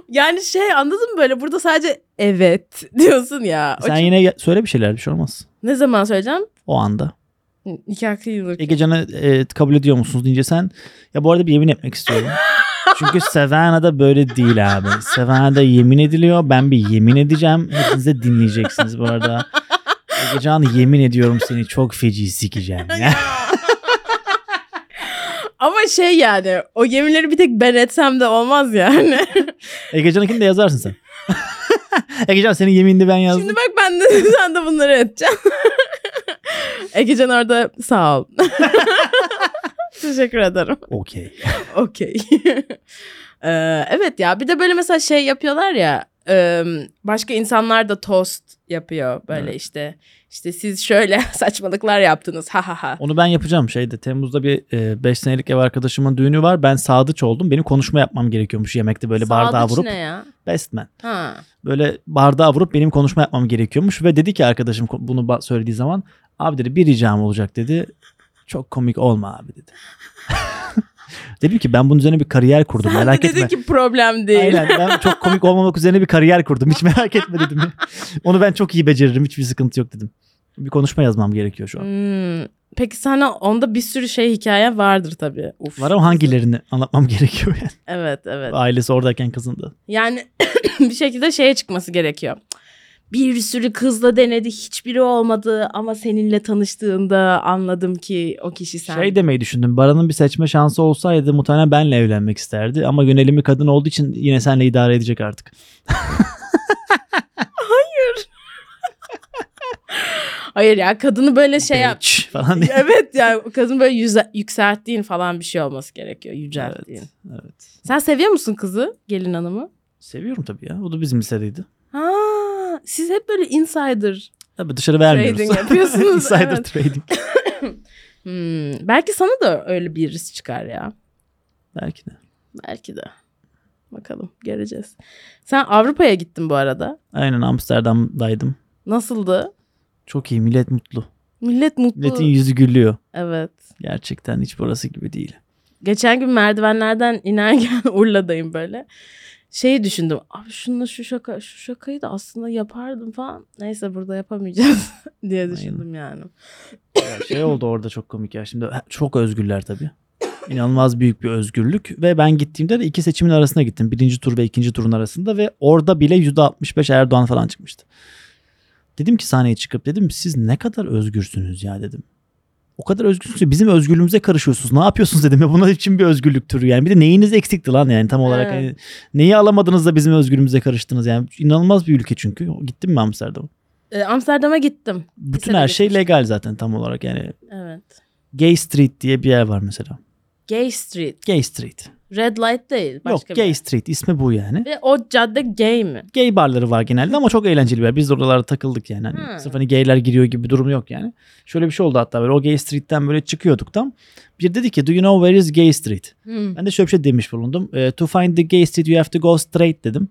[SPEAKER 2] Yani şey anladın mı böyle burada sadece evet diyorsun ya. O
[SPEAKER 3] Sen
[SPEAKER 2] çok-
[SPEAKER 3] yine ya- söyle bir şeyler bir şey olmaz.
[SPEAKER 2] Ne zaman söyleyeceğim?
[SPEAKER 3] O anda.
[SPEAKER 2] Nikah kıyılır.
[SPEAKER 3] Ege Can'ı e, kabul ediyor musunuz deyince sen ya bu arada bir yemin etmek istiyorum. Çünkü Savannah'da böyle değil abi. Savannah'da yemin ediliyor. Ben bir yemin edeceğim. Hepiniz de dinleyeceksiniz bu arada. Ege Can yemin ediyorum seni çok feci sikeceğim. Ya.
[SPEAKER 2] Ama şey yani o yeminleri bir tek ben etsem de olmaz yani.
[SPEAKER 3] Ege Can'ınkini de yazarsın sen. Ege Can senin yeminini ben yazdım.
[SPEAKER 2] Şimdi bak ben de sen de bunları edeceğim. Egecan orada sağ ol. Teşekkür ederim.
[SPEAKER 3] Okey.
[SPEAKER 2] Okey. Ee, evet ya bir de böyle mesela şey yapıyorlar ya Ee, başka insanlar da toast yapıyor böyle
[SPEAKER 3] Evet.
[SPEAKER 2] işte. İşte siz şöyle saçmalıklar yaptınız ha ha ha.
[SPEAKER 3] Onu ben yapacağım şeyde. Temmuz'da bir 5 senelik ev arkadaşımın düğünü var. Ben sadıç oldum. Benim konuşma yapmam gerekiyormuş yemekte böyle bardağa
[SPEAKER 2] Sadıç
[SPEAKER 3] vurup.
[SPEAKER 2] ne ya?
[SPEAKER 3] Bestman.
[SPEAKER 2] Ha.
[SPEAKER 3] Böyle bardağa vurup benim konuşma yapmam gerekiyormuş. Ve dedi ki arkadaşım ko- bunu ba- söylediği zaman. Abi dedi bir ricam olacak dedi. Çok komik olma abi dedi. Dedim ki ben bunun üzerine bir kariyer kurdum
[SPEAKER 2] Sen
[SPEAKER 3] merak
[SPEAKER 2] de
[SPEAKER 3] etme.
[SPEAKER 2] dedin ki problem değil.
[SPEAKER 3] Aynen ben çok komik olmamak üzerine bir kariyer kurdum. Hiç merak etme dedim. Onu ben çok iyi beceririm. Hiçbir sıkıntı yok dedim. Bir konuşma yazmam gerekiyor şu an.
[SPEAKER 2] Hmm. Peki sana onda bir sürü şey hikaye vardır tabii. Uf.
[SPEAKER 3] Var ama hangilerini anlatmam gerekiyor yani.
[SPEAKER 2] Evet evet.
[SPEAKER 3] Ailesi oradayken kızındı.
[SPEAKER 2] Yani bir şekilde şeye çıkması gerekiyor. Bir sürü kızla denedi hiçbiri olmadı ama seninle tanıştığında anladım ki o kişi sen.
[SPEAKER 3] Şey demeyi düşündüm. Baran'ın bir seçme şansı olsaydı muhtemelen benle evlenmek isterdi. Ama yönelimi kadın olduğu için yine senle idare edecek artık.
[SPEAKER 2] Hayır ya kadını böyle şey yap.
[SPEAKER 3] Bitch falan diye.
[SPEAKER 2] evet ya kadın böyle yüze- yükselttiğin falan bir şey olması gerekiyor. Yücelttiğin.
[SPEAKER 3] Evet.
[SPEAKER 2] Sen seviyor musun kızı gelin hanımı?
[SPEAKER 3] Seviyorum tabii ya. O da bizim lisedeydi.
[SPEAKER 2] Ha, siz hep böyle insider
[SPEAKER 3] Tabii dışarı vermiyoruz.
[SPEAKER 2] trading yapıyorsunuz.
[SPEAKER 3] Insider
[SPEAKER 2] evet.
[SPEAKER 3] trading.
[SPEAKER 2] Hmm, belki sana da öyle birisi çıkar ya.
[SPEAKER 3] Belki de.
[SPEAKER 2] Belki de. Bakalım göreceğiz. Sen Avrupa'ya gittin bu arada.
[SPEAKER 3] Aynen Amsterdam'daydım.
[SPEAKER 2] Nasıldı?
[SPEAKER 3] Çok iyi. Millet mutlu.
[SPEAKER 2] Millet mutlu.
[SPEAKER 3] Milletin yüzü gülüyor.
[SPEAKER 2] Evet.
[SPEAKER 3] Gerçekten hiç burası gibi değil.
[SPEAKER 2] Geçen gün merdivenlerden inerken Urla'dayım böyle. Şeyi düşündüm. Abi şununla şu şaka şu şakayı da aslında yapardım falan. Neyse burada yapamayacağız diye düşündüm yani.
[SPEAKER 3] Ya şey oldu orada çok komik ya. Şimdi çok özgürler tabii. İnanılmaz büyük bir özgürlük ve ben gittiğimde de iki seçimin arasına gittim. Birinci tur ve ikinci turun arasında ve orada bile %65 Erdoğan falan çıkmıştı. Dedim ki sahneye çıkıp dedim siz ne kadar özgürsünüz ya dedim. O kadar özgürsünüz ki bizim özgürlüğümüze karışıyorsunuz. Ne yapıyorsunuz dedim ya bunlar için bir özgürlük türü yani. Bir de neyiniz eksikti lan yani tam olarak.
[SPEAKER 2] Evet.
[SPEAKER 3] hani neyi alamadınız da bizim özgürlüğümüze karıştınız yani. İnanılmaz bir ülke çünkü. Gittim mi Amsterdam'a?
[SPEAKER 2] Ee, Amsterdam'a gittim.
[SPEAKER 3] Bütün
[SPEAKER 2] sene
[SPEAKER 3] her şey
[SPEAKER 2] gitmiştim.
[SPEAKER 3] legal zaten tam olarak yani.
[SPEAKER 2] Evet.
[SPEAKER 3] Gay Street diye bir yer var mesela.
[SPEAKER 2] Gay Street.
[SPEAKER 3] Gay Street.
[SPEAKER 2] Red Light değil. Başka
[SPEAKER 3] Yok
[SPEAKER 2] bir
[SPEAKER 3] Gay
[SPEAKER 2] yer.
[SPEAKER 3] Street ismi bu yani.
[SPEAKER 2] Ve o cadde gay mi?
[SPEAKER 3] Gay barları var genelde ama çok eğlenceli bir yer. Biz de oralara takıldık yani. Hani
[SPEAKER 2] Hmm.
[SPEAKER 3] Sırf hani gayler giriyor gibi bir durum yok yani. Şöyle bir şey oldu hatta böyle o Gay Street'ten böyle çıkıyorduk tam. Bir dedi ki do you know where is Gay Street?
[SPEAKER 2] Hmm.
[SPEAKER 3] Ben de şöyle bir şey demiş bulundum. E, to find the Gay Street you have to go straight dedim.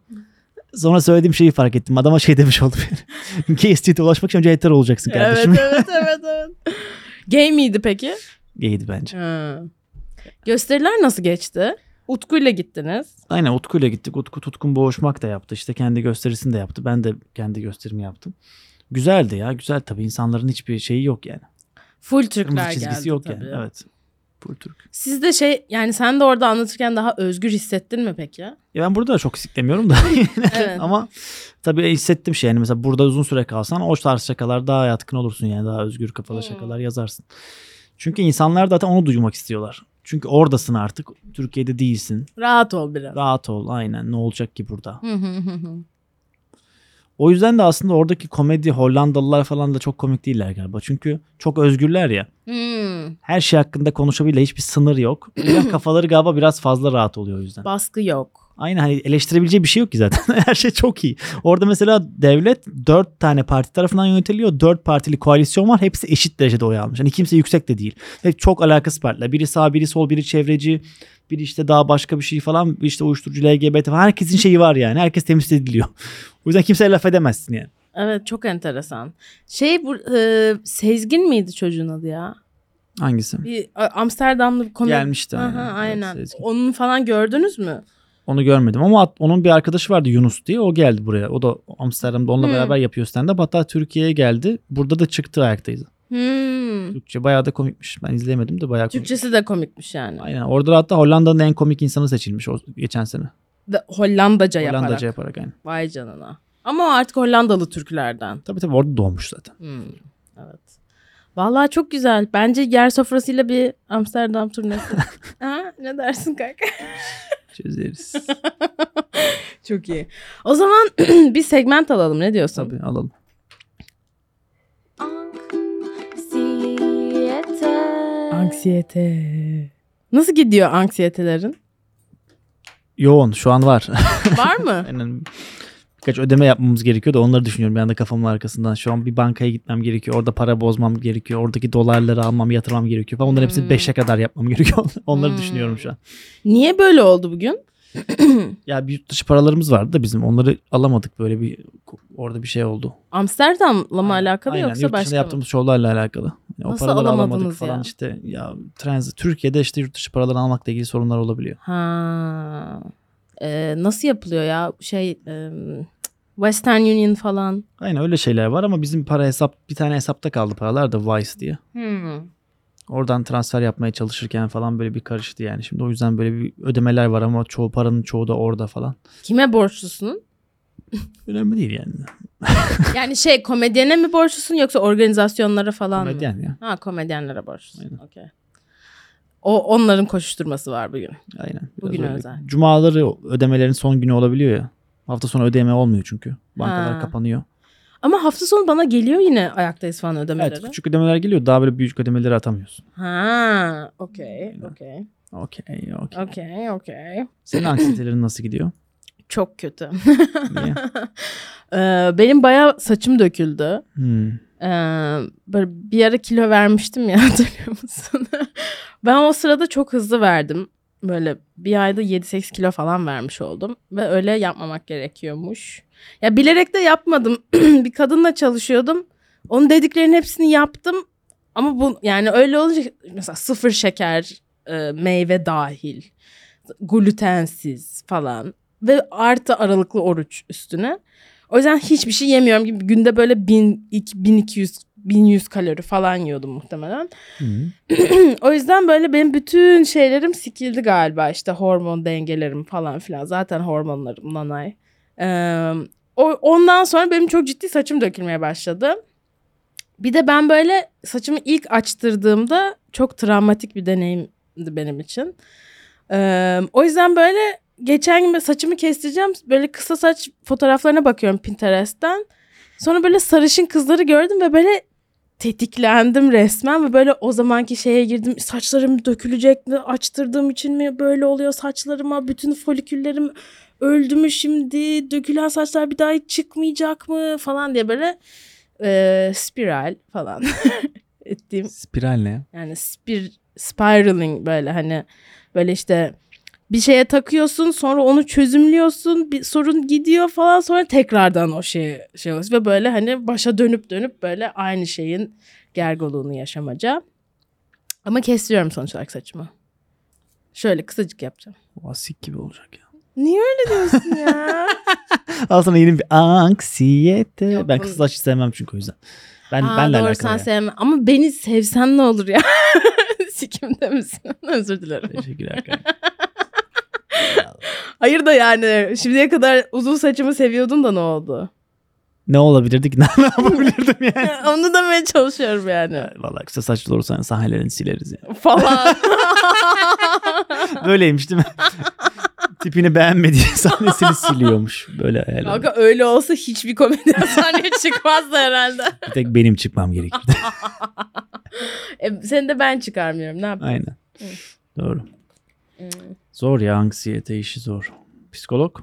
[SPEAKER 3] Sonra söylediğim şeyi fark ettim. Adama şey demiş oldum. yani. gay Street'e ulaşmak için önce hetero olacaksın
[SPEAKER 2] Evet
[SPEAKER 3] kardeşim.
[SPEAKER 2] evet evet evet. Gay miydi peki?
[SPEAKER 3] Gay'di bence.
[SPEAKER 2] Ha. Gösteriler nasıl geçti? Utku'yla gittiniz.
[SPEAKER 3] Aynen Utku'yla gittik. Utku Tutkun Boğuşmak da yaptı. İşte kendi gösterisini de yaptı. Ben de kendi gösterimi yaptım. Güzeldi ya. Güzel tabii. İnsanların hiçbir şeyi yok yani.
[SPEAKER 2] Full Türkler
[SPEAKER 3] Kırmızı
[SPEAKER 2] geldi
[SPEAKER 3] çizgisi yok
[SPEAKER 2] tabii.
[SPEAKER 3] yani. Evet. Full Türk.
[SPEAKER 2] Siz de şey yani sen de orada anlatırken daha özgür hissettin mi peki?
[SPEAKER 3] Ya ben burada da çok siklemiyorum da.
[SPEAKER 2] Evet.
[SPEAKER 3] Ama tabii hissettim şey yani mesela burada uzun süre kalsan o tarz şakalar daha yatkın olursun yani daha özgür kafalı
[SPEAKER 2] Hmm.
[SPEAKER 3] şakalar yazarsın. Çünkü insanlar zaten onu duymak istiyorlar. Çünkü oradasın artık. Türkiye'de değilsin.
[SPEAKER 2] Rahat ol biraz.
[SPEAKER 3] Rahat ol aynen ne olacak ki burada.
[SPEAKER 2] Hı hı hı hı.
[SPEAKER 3] O yüzden de aslında oradaki komedi Hollandalılar falan da çok komik değiller galiba. Çünkü çok özgürler ya.
[SPEAKER 2] Hmm,
[SPEAKER 3] Her şey hakkında konuşabilir hiçbir sınır yok. Biraz kafaları galiba biraz fazla rahat oluyor o yüzden.
[SPEAKER 2] Baskı yok.
[SPEAKER 3] Aynen hani eleştirebileceği bir şey yok ki zaten. Her şey çok iyi. Orada mesela devlet dört tane parti tarafından yönetiliyor. Dört partili koalisyon var. Hepsi eşit derecede oy almış. Hani kimse yüksek de değil. Hep çok alakasız partiler. Biri sağ, biri sol, biri çevreci. Biri işte daha başka bir şey falan. işte uyuşturucu, LGBT falan. Herkesin şeyi var yani. Herkes temsil ediliyor. O yüzden kimseye laf edemezsin yani.
[SPEAKER 2] Evet çok enteresan. Şey bu e, Sezgin miydi çocuğun adı ya?
[SPEAKER 3] Hangisi?
[SPEAKER 2] Bir A- Amsterdamlı bir komedi.
[SPEAKER 3] Gelmişti,
[SPEAKER 2] Aha,
[SPEAKER 3] aynen. Evet,
[SPEAKER 2] aynen.
[SPEAKER 3] Sezgin.
[SPEAKER 2] Onun falan gördünüz mü?
[SPEAKER 3] Onu görmedim ama at- onun bir arkadaşı vardı Yunus diye. O geldi buraya. O da Amsterdam'da onunla
[SPEAKER 2] Hmm.
[SPEAKER 3] beraber yapıyor stand-up. Hatta Türkiye'ye geldi. Burada da çıktı ayaktaydı.
[SPEAKER 2] Hmm.
[SPEAKER 3] Türkçe bayağı da komikmiş. Ben izleyemedim de bayağı komik.
[SPEAKER 2] Türkçesi de komikmiş yani.
[SPEAKER 3] Aynen. Orada hatta Hollanda'nın en komik insanı seçilmiş o geçen sene.
[SPEAKER 2] De- Hollandaca,
[SPEAKER 3] Hollandaca
[SPEAKER 2] Şey yaparak.
[SPEAKER 3] yaparak aynen.
[SPEAKER 2] Vay canına. Ama o artık Hollandalı Türklerden.
[SPEAKER 3] Tabii tabii orada doğmuş zaten.
[SPEAKER 2] Hmm, Evet. Vallahi çok güzel. Bence yer sofrasıyla bir Amsterdam turnesi. ha, ne dersin kanka?
[SPEAKER 3] Çözeriz.
[SPEAKER 2] Çok iyi. O zaman bir segment alalım ne diyorsun?
[SPEAKER 3] tabii alalım.
[SPEAKER 1] Anksiyete.
[SPEAKER 2] Anksiyete. Nasıl gidiyor anksiyetelerin?
[SPEAKER 3] Yoğun şu an var.
[SPEAKER 2] Var mı?
[SPEAKER 3] aynen. birkaç ödeme yapmamız gerekiyor da onları düşünüyorum bir anda kafamın arkasından. Şu an bir bankaya gitmem gerekiyor. Orada para bozmam gerekiyor. Oradaki dolarları almam, yatırmam gerekiyor falan. Onların hepsini 5'e kadar yapmam gerekiyor. onları
[SPEAKER 2] Hmm.
[SPEAKER 3] düşünüyorum şu an.
[SPEAKER 2] Niye böyle oldu bugün?
[SPEAKER 3] Ya bir yurt dışı paralarımız vardı da bizim. Onları alamadık böyle bir orada bir şey oldu.
[SPEAKER 2] Amsterdam'la mı
[SPEAKER 3] Aynen.
[SPEAKER 2] alakalı
[SPEAKER 3] Aynen,
[SPEAKER 2] yoksa
[SPEAKER 3] yurt
[SPEAKER 2] başka
[SPEAKER 3] dışında
[SPEAKER 2] mı?
[SPEAKER 3] yaptığımız şovlarla alakalı. Yani
[SPEAKER 2] Nasıl
[SPEAKER 3] o paraları alamadık
[SPEAKER 2] alamadınız
[SPEAKER 3] falan
[SPEAKER 2] ya?
[SPEAKER 3] işte ya transit Türkiye'de işte yurt dışı paraları almakla ilgili sorunlar olabiliyor.
[SPEAKER 2] Ha. Ee, nasıl yapılıyor ya? Şey e, Western Union falan.
[SPEAKER 3] Aynen öyle şeyler var ama bizim para hesap bir tane hesapta kaldı paralar da Vice diye. Hmm. Oradan transfer yapmaya çalışırken falan böyle bir karıştı yani. Şimdi o yüzden böyle bir ödemeler var ama çoğu paranın çoğu da orada falan.
[SPEAKER 2] Kime borçlusun?
[SPEAKER 3] Önemli değil yani.
[SPEAKER 2] Yani şey komedyene mi borçlusun yoksa organizasyonlara falan mı?
[SPEAKER 3] Komedyen ya.
[SPEAKER 2] Ha komedyenlere borçlusun.
[SPEAKER 3] Aynen.
[SPEAKER 2] Okey. O onların koşuşturması var bugün.
[SPEAKER 3] Aynen. Biraz
[SPEAKER 2] Bugün
[SPEAKER 3] öyle.
[SPEAKER 2] özel.
[SPEAKER 3] Cumaları ödemelerin son günü olabiliyor ya. Hafta sonu ödeme olmuyor çünkü. Bankalar
[SPEAKER 2] Ha.
[SPEAKER 3] kapanıyor.
[SPEAKER 2] Ama hafta sonu bana geliyor yine ayaktayız falan ödemeleri.
[SPEAKER 3] Evet küçük ödemeler geliyor. Daha böyle büyük ödemeleri atamıyorsun.
[SPEAKER 2] Ha, okey, okey,
[SPEAKER 3] Okey okey.
[SPEAKER 2] okey, okey.
[SPEAKER 3] Senin anksiyetelerin nasıl gidiyor?
[SPEAKER 2] Çok kötü.
[SPEAKER 3] Niye?
[SPEAKER 2] Ee, benim bayağı saçım döküldü.
[SPEAKER 3] Hmm.
[SPEAKER 2] Ee, böyle bir ara kilo vermiştim ya hatırlıyor musun? ben o sırada çok hızlı verdim. Böyle bir ayda 7-8 kilo falan vermiş oldum. Ve öyle yapmamak gerekiyormuş. Ya bilerek de yapmadım. bir kadınla çalışıyordum. Onun dediklerinin hepsini yaptım. Ama bu yani öyle olunca mesela sıfır şeker, e, meyve dahil, glutensiz falan ve artı aralıklı oruç üstüne. O yüzden hiçbir şey yemiyorum gibi günde böyle 1000 iki- 1200 1100 kalori falan yiyordum muhtemelen.
[SPEAKER 3] Hmm.
[SPEAKER 2] o yüzden böyle benim bütün şeylerim sikildi galiba işte hormon dengelerim falan filan. Zaten hormonlarım nanay. Ee, o, ondan sonra benim çok ciddi saçım dökülmeye başladı. Bir de ben böyle saçımı ilk açtırdığımda çok travmatik bir deneyimdi benim için. Ee, o yüzden böyle geçen gün böyle saçımı kestireceğim. Böyle kısa saç fotoğraflarına bakıyorum Pinterest'ten. Sonra böyle sarışın kızları gördüm ve böyle tetiklendim resmen ve böyle o zamanki şeye girdim. Saçlarım dökülecek mi? Açtırdığım için mi böyle oluyor saçlarıma? Bütün foliküllerim öldü mü şimdi? Dökülen saçlar bir daha hiç çıkmayacak mı? Falan diye böyle e, spiral falan ettiğim
[SPEAKER 3] Spiral ne?
[SPEAKER 2] yani spir, spiraling böyle hani böyle işte bir şeye takıyorsun sonra onu çözümlüyorsun bir sorun gidiyor falan sonra tekrardan o şeye şey oluyor ve böyle hani başa dönüp dönüp böyle aynı şeyin gergoluğunu yaşamaca. Ama kestiriyorum sonuç olarak saçımı. Şöyle kısacık yapacağım.
[SPEAKER 3] Asik gibi olacak ya.
[SPEAKER 2] Niye öyle diyorsun ya?
[SPEAKER 3] Al sana yeni bir anksiyete.
[SPEAKER 2] Yok,
[SPEAKER 3] ben
[SPEAKER 2] bu-
[SPEAKER 3] kısa saç sevmem çünkü o yüzden. Ben
[SPEAKER 2] Aa,
[SPEAKER 3] benle
[SPEAKER 2] doğru,
[SPEAKER 3] alakalı.
[SPEAKER 2] sen
[SPEAKER 3] yani.
[SPEAKER 2] sevme. Ama beni sevsen ne olur ya? Sikimde misin? Özür dilerim.
[SPEAKER 3] Teşekkürler kanka.
[SPEAKER 2] Hayır da yani şimdiye kadar uzun saçımı seviyordun da ne oldu?
[SPEAKER 3] ne olabilirdi ki? ne yapabilirdim yani?
[SPEAKER 2] Onu demeye çalışıyorum yani.
[SPEAKER 3] Vallahi kısa saçlı olursan sahnelerini sileriz yani.
[SPEAKER 2] Falan.
[SPEAKER 3] Böyleymiş değil mi? Tipini beğenmediği sahnesini siliyormuş. Böyle hayal ediyorum.
[SPEAKER 2] Kanka öyle olsa hiçbir komedyen sahneye çıkmazdı herhalde.
[SPEAKER 3] Bir tek benim çıkmam gerekirdi.
[SPEAKER 2] E, seni de ben çıkarmıyorum. Ne yapayım?
[SPEAKER 3] Aynen. Doğru.
[SPEAKER 2] Hmm.
[SPEAKER 3] Zor ya anksiyete işi zor. Psikolog?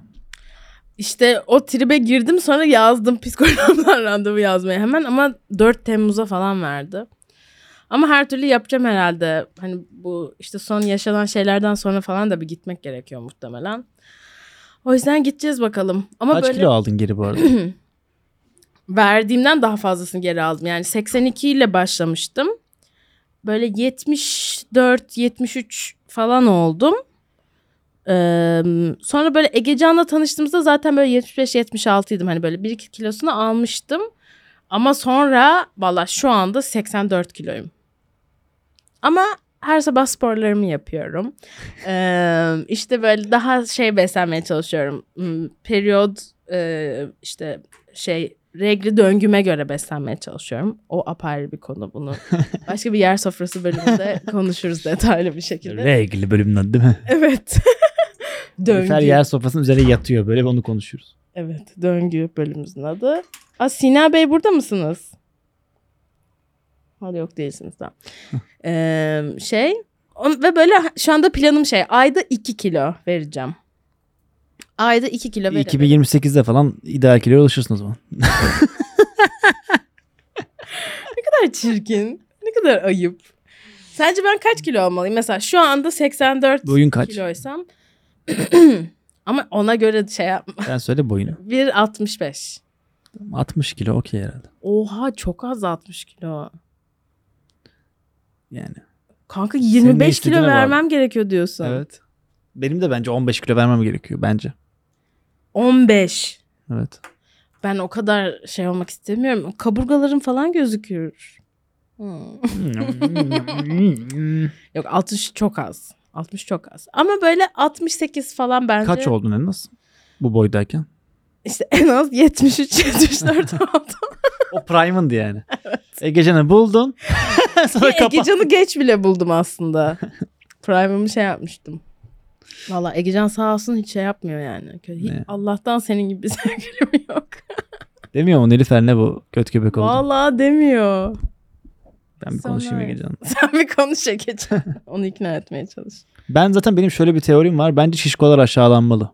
[SPEAKER 2] İşte o tribe girdim sonra yazdım psikologdan randevu yazmaya hemen ama 4 Temmuz'a falan verdi. Ama her türlü yapacağım herhalde. Hani bu işte son yaşanan şeylerden sonra falan da bir gitmek gerekiyor muhtemelen. O yüzden gideceğiz bakalım. Ama
[SPEAKER 3] Kaç
[SPEAKER 2] böyle
[SPEAKER 3] kilo aldın geri bu arada?
[SPEAKER 2] verdiğimden daha fazlasını geri aldım. Yani 82 ile başlamıştım. Böyle 74, 73 falan oldum. Ee, sonra böyle Egecan'la tanıştığımızda zaten böyle 75-76 idim. Hani böyle 1-2 kilosunu almıştım. Ama sonra valla şu anda 84 kiloyum. Ama her sabah sporlarımı yapıyorum. Ee, işte böyle daha şey beslenmeye çalışıyorum. Hmm, Periyod e, işte şey regli döngüme göre beslenmeye çalışıyorum. O apayrı bir konu bunu. Başka bir yer sofrası bölümünde konuşuruz detaylı bir şekilde.
[SPEAKER 3] Regli bölümün adı değil mi?
[SPEAKER 2] Evet. döngü.
[SPEAKER 3] Her yer sofrasının üzerine yatıyor. Böyle onu konuşuyoruz.
[SPEAKER 2] Evet, döngü bölümümüzün adı. Aa, Sina Bey burada mısınız? Hala yok değilsiniz tamam. Ee, şey on- ve böyle ha- şu anda planım şey ayda 2 kilo vereceğim. Ayda 2 kilo verelim.
[SPEAKER 3] 2028'de falan ideal kiloya ulaşırsın o zaman.
[SPEAKER 2] Ne kadar çirkin. Ne kadar ayıp. Sence ben kaç kilo olmalıyım? Mesela şu anda 84
[SPEAKER 3] Boyun kaç?
[SPEAKER 2] kiloysam. Ama ona göre şey yapma.
[SPEAKER 3] Sen söyle boyunu.
[SPEAKER 2] 1.65.
[SPEAKER 3] 60 kilo okey herhalde.
[SPEAKER 2] Oha çok az 60 kilo.
[SPEAKER 3] Yani.
[SPEAKER 2] Kanka
[SPEAKER 3] ne
[SPEAKER 2] 25 kilo
[SPEAKER 3] istediğine bağlı.
[SPEAKER 2] vermem gerekiyor diyorsun.
[SPEAKER 3] Evet. Benim de bence 15 kilo vermem gerekiyor bence.
[SPEAKER 2] 15.
[SPEAKER 3] Evet.
[SPEAKER 2] Ben o kadar şey olmak istemiyorum. Kaburgalarım falan gözüküyor. Hmm. Yok 60 çok az. 60 çok az. Ama böyle 68 falan bence.
[SPEAKER 3] Kaç oldun en az? Bu boydayken.
[SPEAKER 2] İşte en az 73, 74 oldu.
[SPEAKER 3] O prime'ındı yani. Egecan'ı buldun. Sonra
[SPEAKER 2] Ki
[SPEAKER 3] kapat.
[SPEAKER 2] Egecan'ı geç bile buldum aslında. Prime'ımı şey yapmıştım. Valla Egecan sağ olsun hiç şey yapmıyor yani. Hiç-
[SPEAKER 3] Ne?
[SPEAKER 2] Allah'tan senin gibi bir sevgilim yok.
[SPEAKER 3] Demiyor mu Nilüfer ne bu? Kötü köpek oldu.
[SPEAKER 2] Valla demiyor.
[SPEAKER 3] ben bir konuşayım
[SPEAKER 2] Sonra-
[SPEAKER 3] Egecan'la.
[SPEAKER 2] Sen bir konuş Egecan. Onu ikna etmeye çalış.
[SPEAKER 3] Ben zaten benim şöyle bir teorim var. Bence şişkolar aşağılanmalı.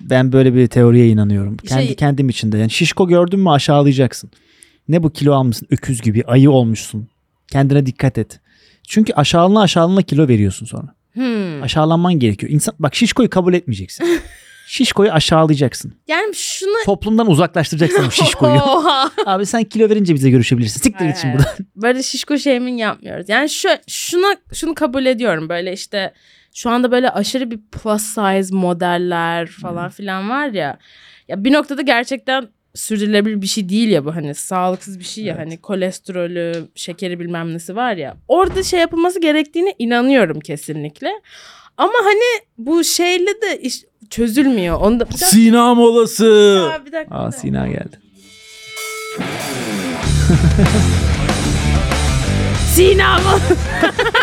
[SPEAKER 3] ben böyle bir teoriye inanıyorum. Kendi
[SPEAKER 2] Şey-
[SPEAKER 3] kendim içinde. Yani şişko gördün mü aşağılayacaksın. Ne bu kilo almışsın öküz gibi ayı olmuşsun. Kendine dikkat et. Çünkü aşağılana aşağılana kilo veriyorsun sonra.
[SPEAKER 2] Hmm.
[SPEAKER 3] Aşağılanman gerekiyor. İnsan bak şişkoyu kabul etmeyeceksin. şişkoyu aşağılayacaksın.
[SPEAKER 2] Yani şunu...
[SPEAKER 3] Toplumdan uzaklaştıracaksın bu şişkoyu.
[SPEAKER 2] Oha.
[SPEAKER 3] Abi sen kilo verince bize görüşebilirsin. Siktir git şimdi
[SPEAKER 2] Evet.
[SPEAKER 3] buradan.
[SPEAKER 2] böyle şişko şeyimin yapmıyoruz. Yani şu şuna şunu kabul ediyorum böyle işte şu anda böyle aşırı bir plus size modeller falan filan var ya. Ya bir noktada gerçekten sürdürülebilir bir şey değil ya bu hani sağlıksız bir şey ya
[SPEAKER 3] Evet.
[SPEAKER 2] hani kolesterolü, şekeri bilmem nesi var ya. Orada şey yapılması gerektiğine inanıyorum kesinlikle. Ama hani bu şeyle de iş çözülmüyor. Onu da bir dakika,
[SPEAKER 3] Sina molası.
[SPEAKER 2] bir dakika.
[SPEAKER 3] Aa Sina geldi.
[SPEAKER 2] Sina mı? Oo,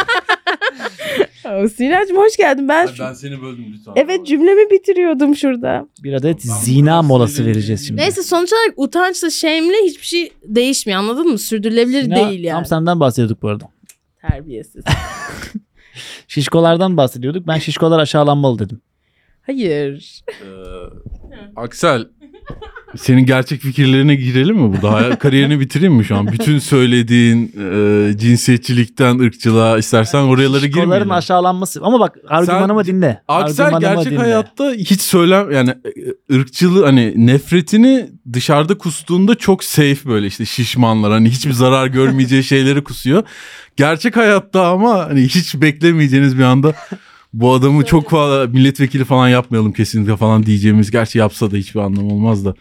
[SPEAKER 2] Oh, Sinacığım hoş geldin. Ben,
[SPEAKER 4] Ay, Ben seni böldüm lütfen.
[SPEAKER 2] Evet cümlemi bitiriyordum şurada.
[SPEAKER 3] Bir adet
[SPEAKER 4] Tamam,
[SPEAKER 3] zina
[SPEAKER 4] tamam,
[SPEAKER 3] molası
[SPEAKER 4] söyleyeyim.
[SPEAKER 3] vereceğiz şimdi.
[SPEAKER 2] Neyse sonuç olarak utançla shame'le hiçbir şey değişmiyor anladın mı? Sürdürülebilir
[SPEAKER 3] Zina,
[SPEAKER 2] değil yani.
[SPEAKER 3] Tam senden bahsediyorduk bu arada.
[SPEAKER 2] Terbiyesiz.
[SPEAKER 3] Şişkolardan bahsediyorduk. Ben şişkolar aşağılanmalı dedim.
[SPEAKER 2] Hayır.
[SPEAKER 4] Ee, Aksel senin gerçek fikirlerine girelim mi burada? Hayal- Kariyerini bitireyim mi şu an? Bütün söylediğin e, cinsiyetçilikten ırkçılığa istersen oralara
[SPEAKER 3] Şişkoların
[SPEAKER 4] girmeyelim.
[SPEAKER 3] aşağılanması. Ama bak argümanımı dinle.
[SPEAKER 4] Aksel
[SPEAKER 3] Argümanımı
[SPEAKER 4] gerçek
[SPEAKER 3] dinle.
[SPEAKER 4] hayatta hiç söylem yani e, ırkçılığı hani nefretini dışarıda kustuğunda çok safe böyle işte şişmanlar hani hiçbir zarar görmeyeceği şeyleri kusuyor. Gerçek hayatta ama hani hiç beklemeyeceğiniz bir anda bu adamı çok fazla milletvekili falan yapmayalım kesinlikle falan diyeceğimiz gerçi yapsa da hiçbir anlam olmaz da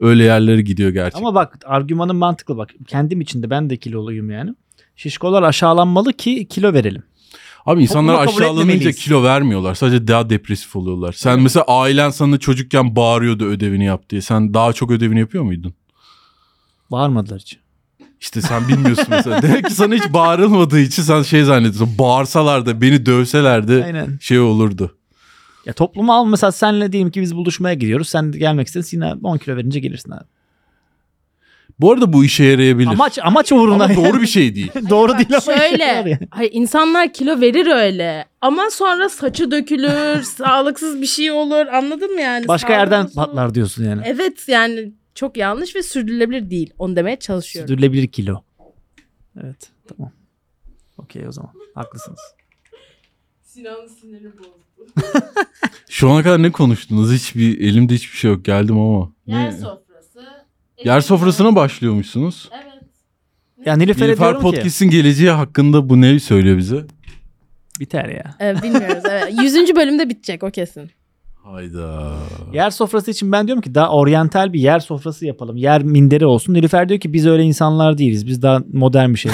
[SPEAKER 4] öyle yerlere gidiyor gerçekten.
[SPEAKER 3] Ama bak argümanın mantıklı bak. Kendim içinde ben de kiloluyum yani. Şişkolar aşağılanmalı ki kilo verelim.
[SPEAKER 4] Abi insanlar
[SPEAKER 3] Topluma kabul
[SPEAKER 4] aşağılanınca
[SPEAKER 3] etmemeliyiz.
[SPEAKER 4] kilo vermiyorlar. Sadece daha depresif oluyorlar. Sen mesela ailen sana çocukken bağırıyordu ödevini yap diye. Sen daha çok ödevini yapıyor muydun?
[SPEAKER 3] Bağırmadılar hiç.
[SPEAKER 4] İşte sen bilmiyorsun mesela. Demek ki sana hiç bağırılmadığı için sen şey zannediyorsun. Bağırsalar da beni dövseler de
[SPEAKER 3] Aynen.
[SPEAKER 4] şey olurdu.
[SPEAKER 3] Ya topluma al mesela senle diyelim ki biz buluşmaya gidiyoruz. Sen de gelmek istedin. Sina 10 kilo verince gelirsin abi.
[SPEAKER 4] Bu arada bu işe yarayabilir. Ama,
[SPEAKER 3] Amaç amaç uğruna.
[SPEAKER 4] doğru bir şey değil.
[SPEAKER 3] doğru değil ama. şey işe
[SPEAKER 2] Şöyle.
[SPEAKER 3] yarıyor.
[SPEAKER 2] Hayır, insanlar kilo verir öyle. Ama sonra saçı dökülür. sağlıksız bir şey olur. Anladın mı yani?
[SPEAKER 3] Başka
[SPEAKER 2] Sağlıksız
[SPEAKER 3] yerden
[SPEAKER 2] olur.
[SPEAKER 3] patlar diyorsun yani.
[SPEAKER 2] Evet yani çok yanlış ve sürdürülebilir değil. Onu demeye çalışıyorum.
[SPEAKER 3] Sürdürülebilir kilo. Evet tamam. Okey o zaman. Haklısınız.
[SPEAKER 2] Sinan'ın siniri bozdu.
[SPEAKER 4] Şu ana kadar ne konuştunuz? Hiçbir elimde hiçbir şey yok. Geldim ama. Ne?
[SPEAKER 2] sofrası.
[SPEAKER 4] Yer sofrasına başlıyormuşsunuz.
[SPEAKER 2] Evet.
[SPEAKER 3] Ya Nilüfer'e
[SPEAKER 4] Nilüfer
[SPEAKER 3] diyorum ki
[SPEAKER 4] Podcast'in geleceği hakkında bu ne söylüyor bize?
[SPEAKER 3] biter ya.
[SPEAKER 2] Ee, bilmiyoruz evet. Yüzüncü bölümde bitecek o kesin.
[SPEAKER 4] Hayda.
[SPEAKER 3] Yer sofrası için ben diyorum ki daha oryantal bir yer sofrası yapalım. Yer minderi olsun. Nilüfer diyor ki biz öyle insanlar değiliz. Biz daha modern bir şey.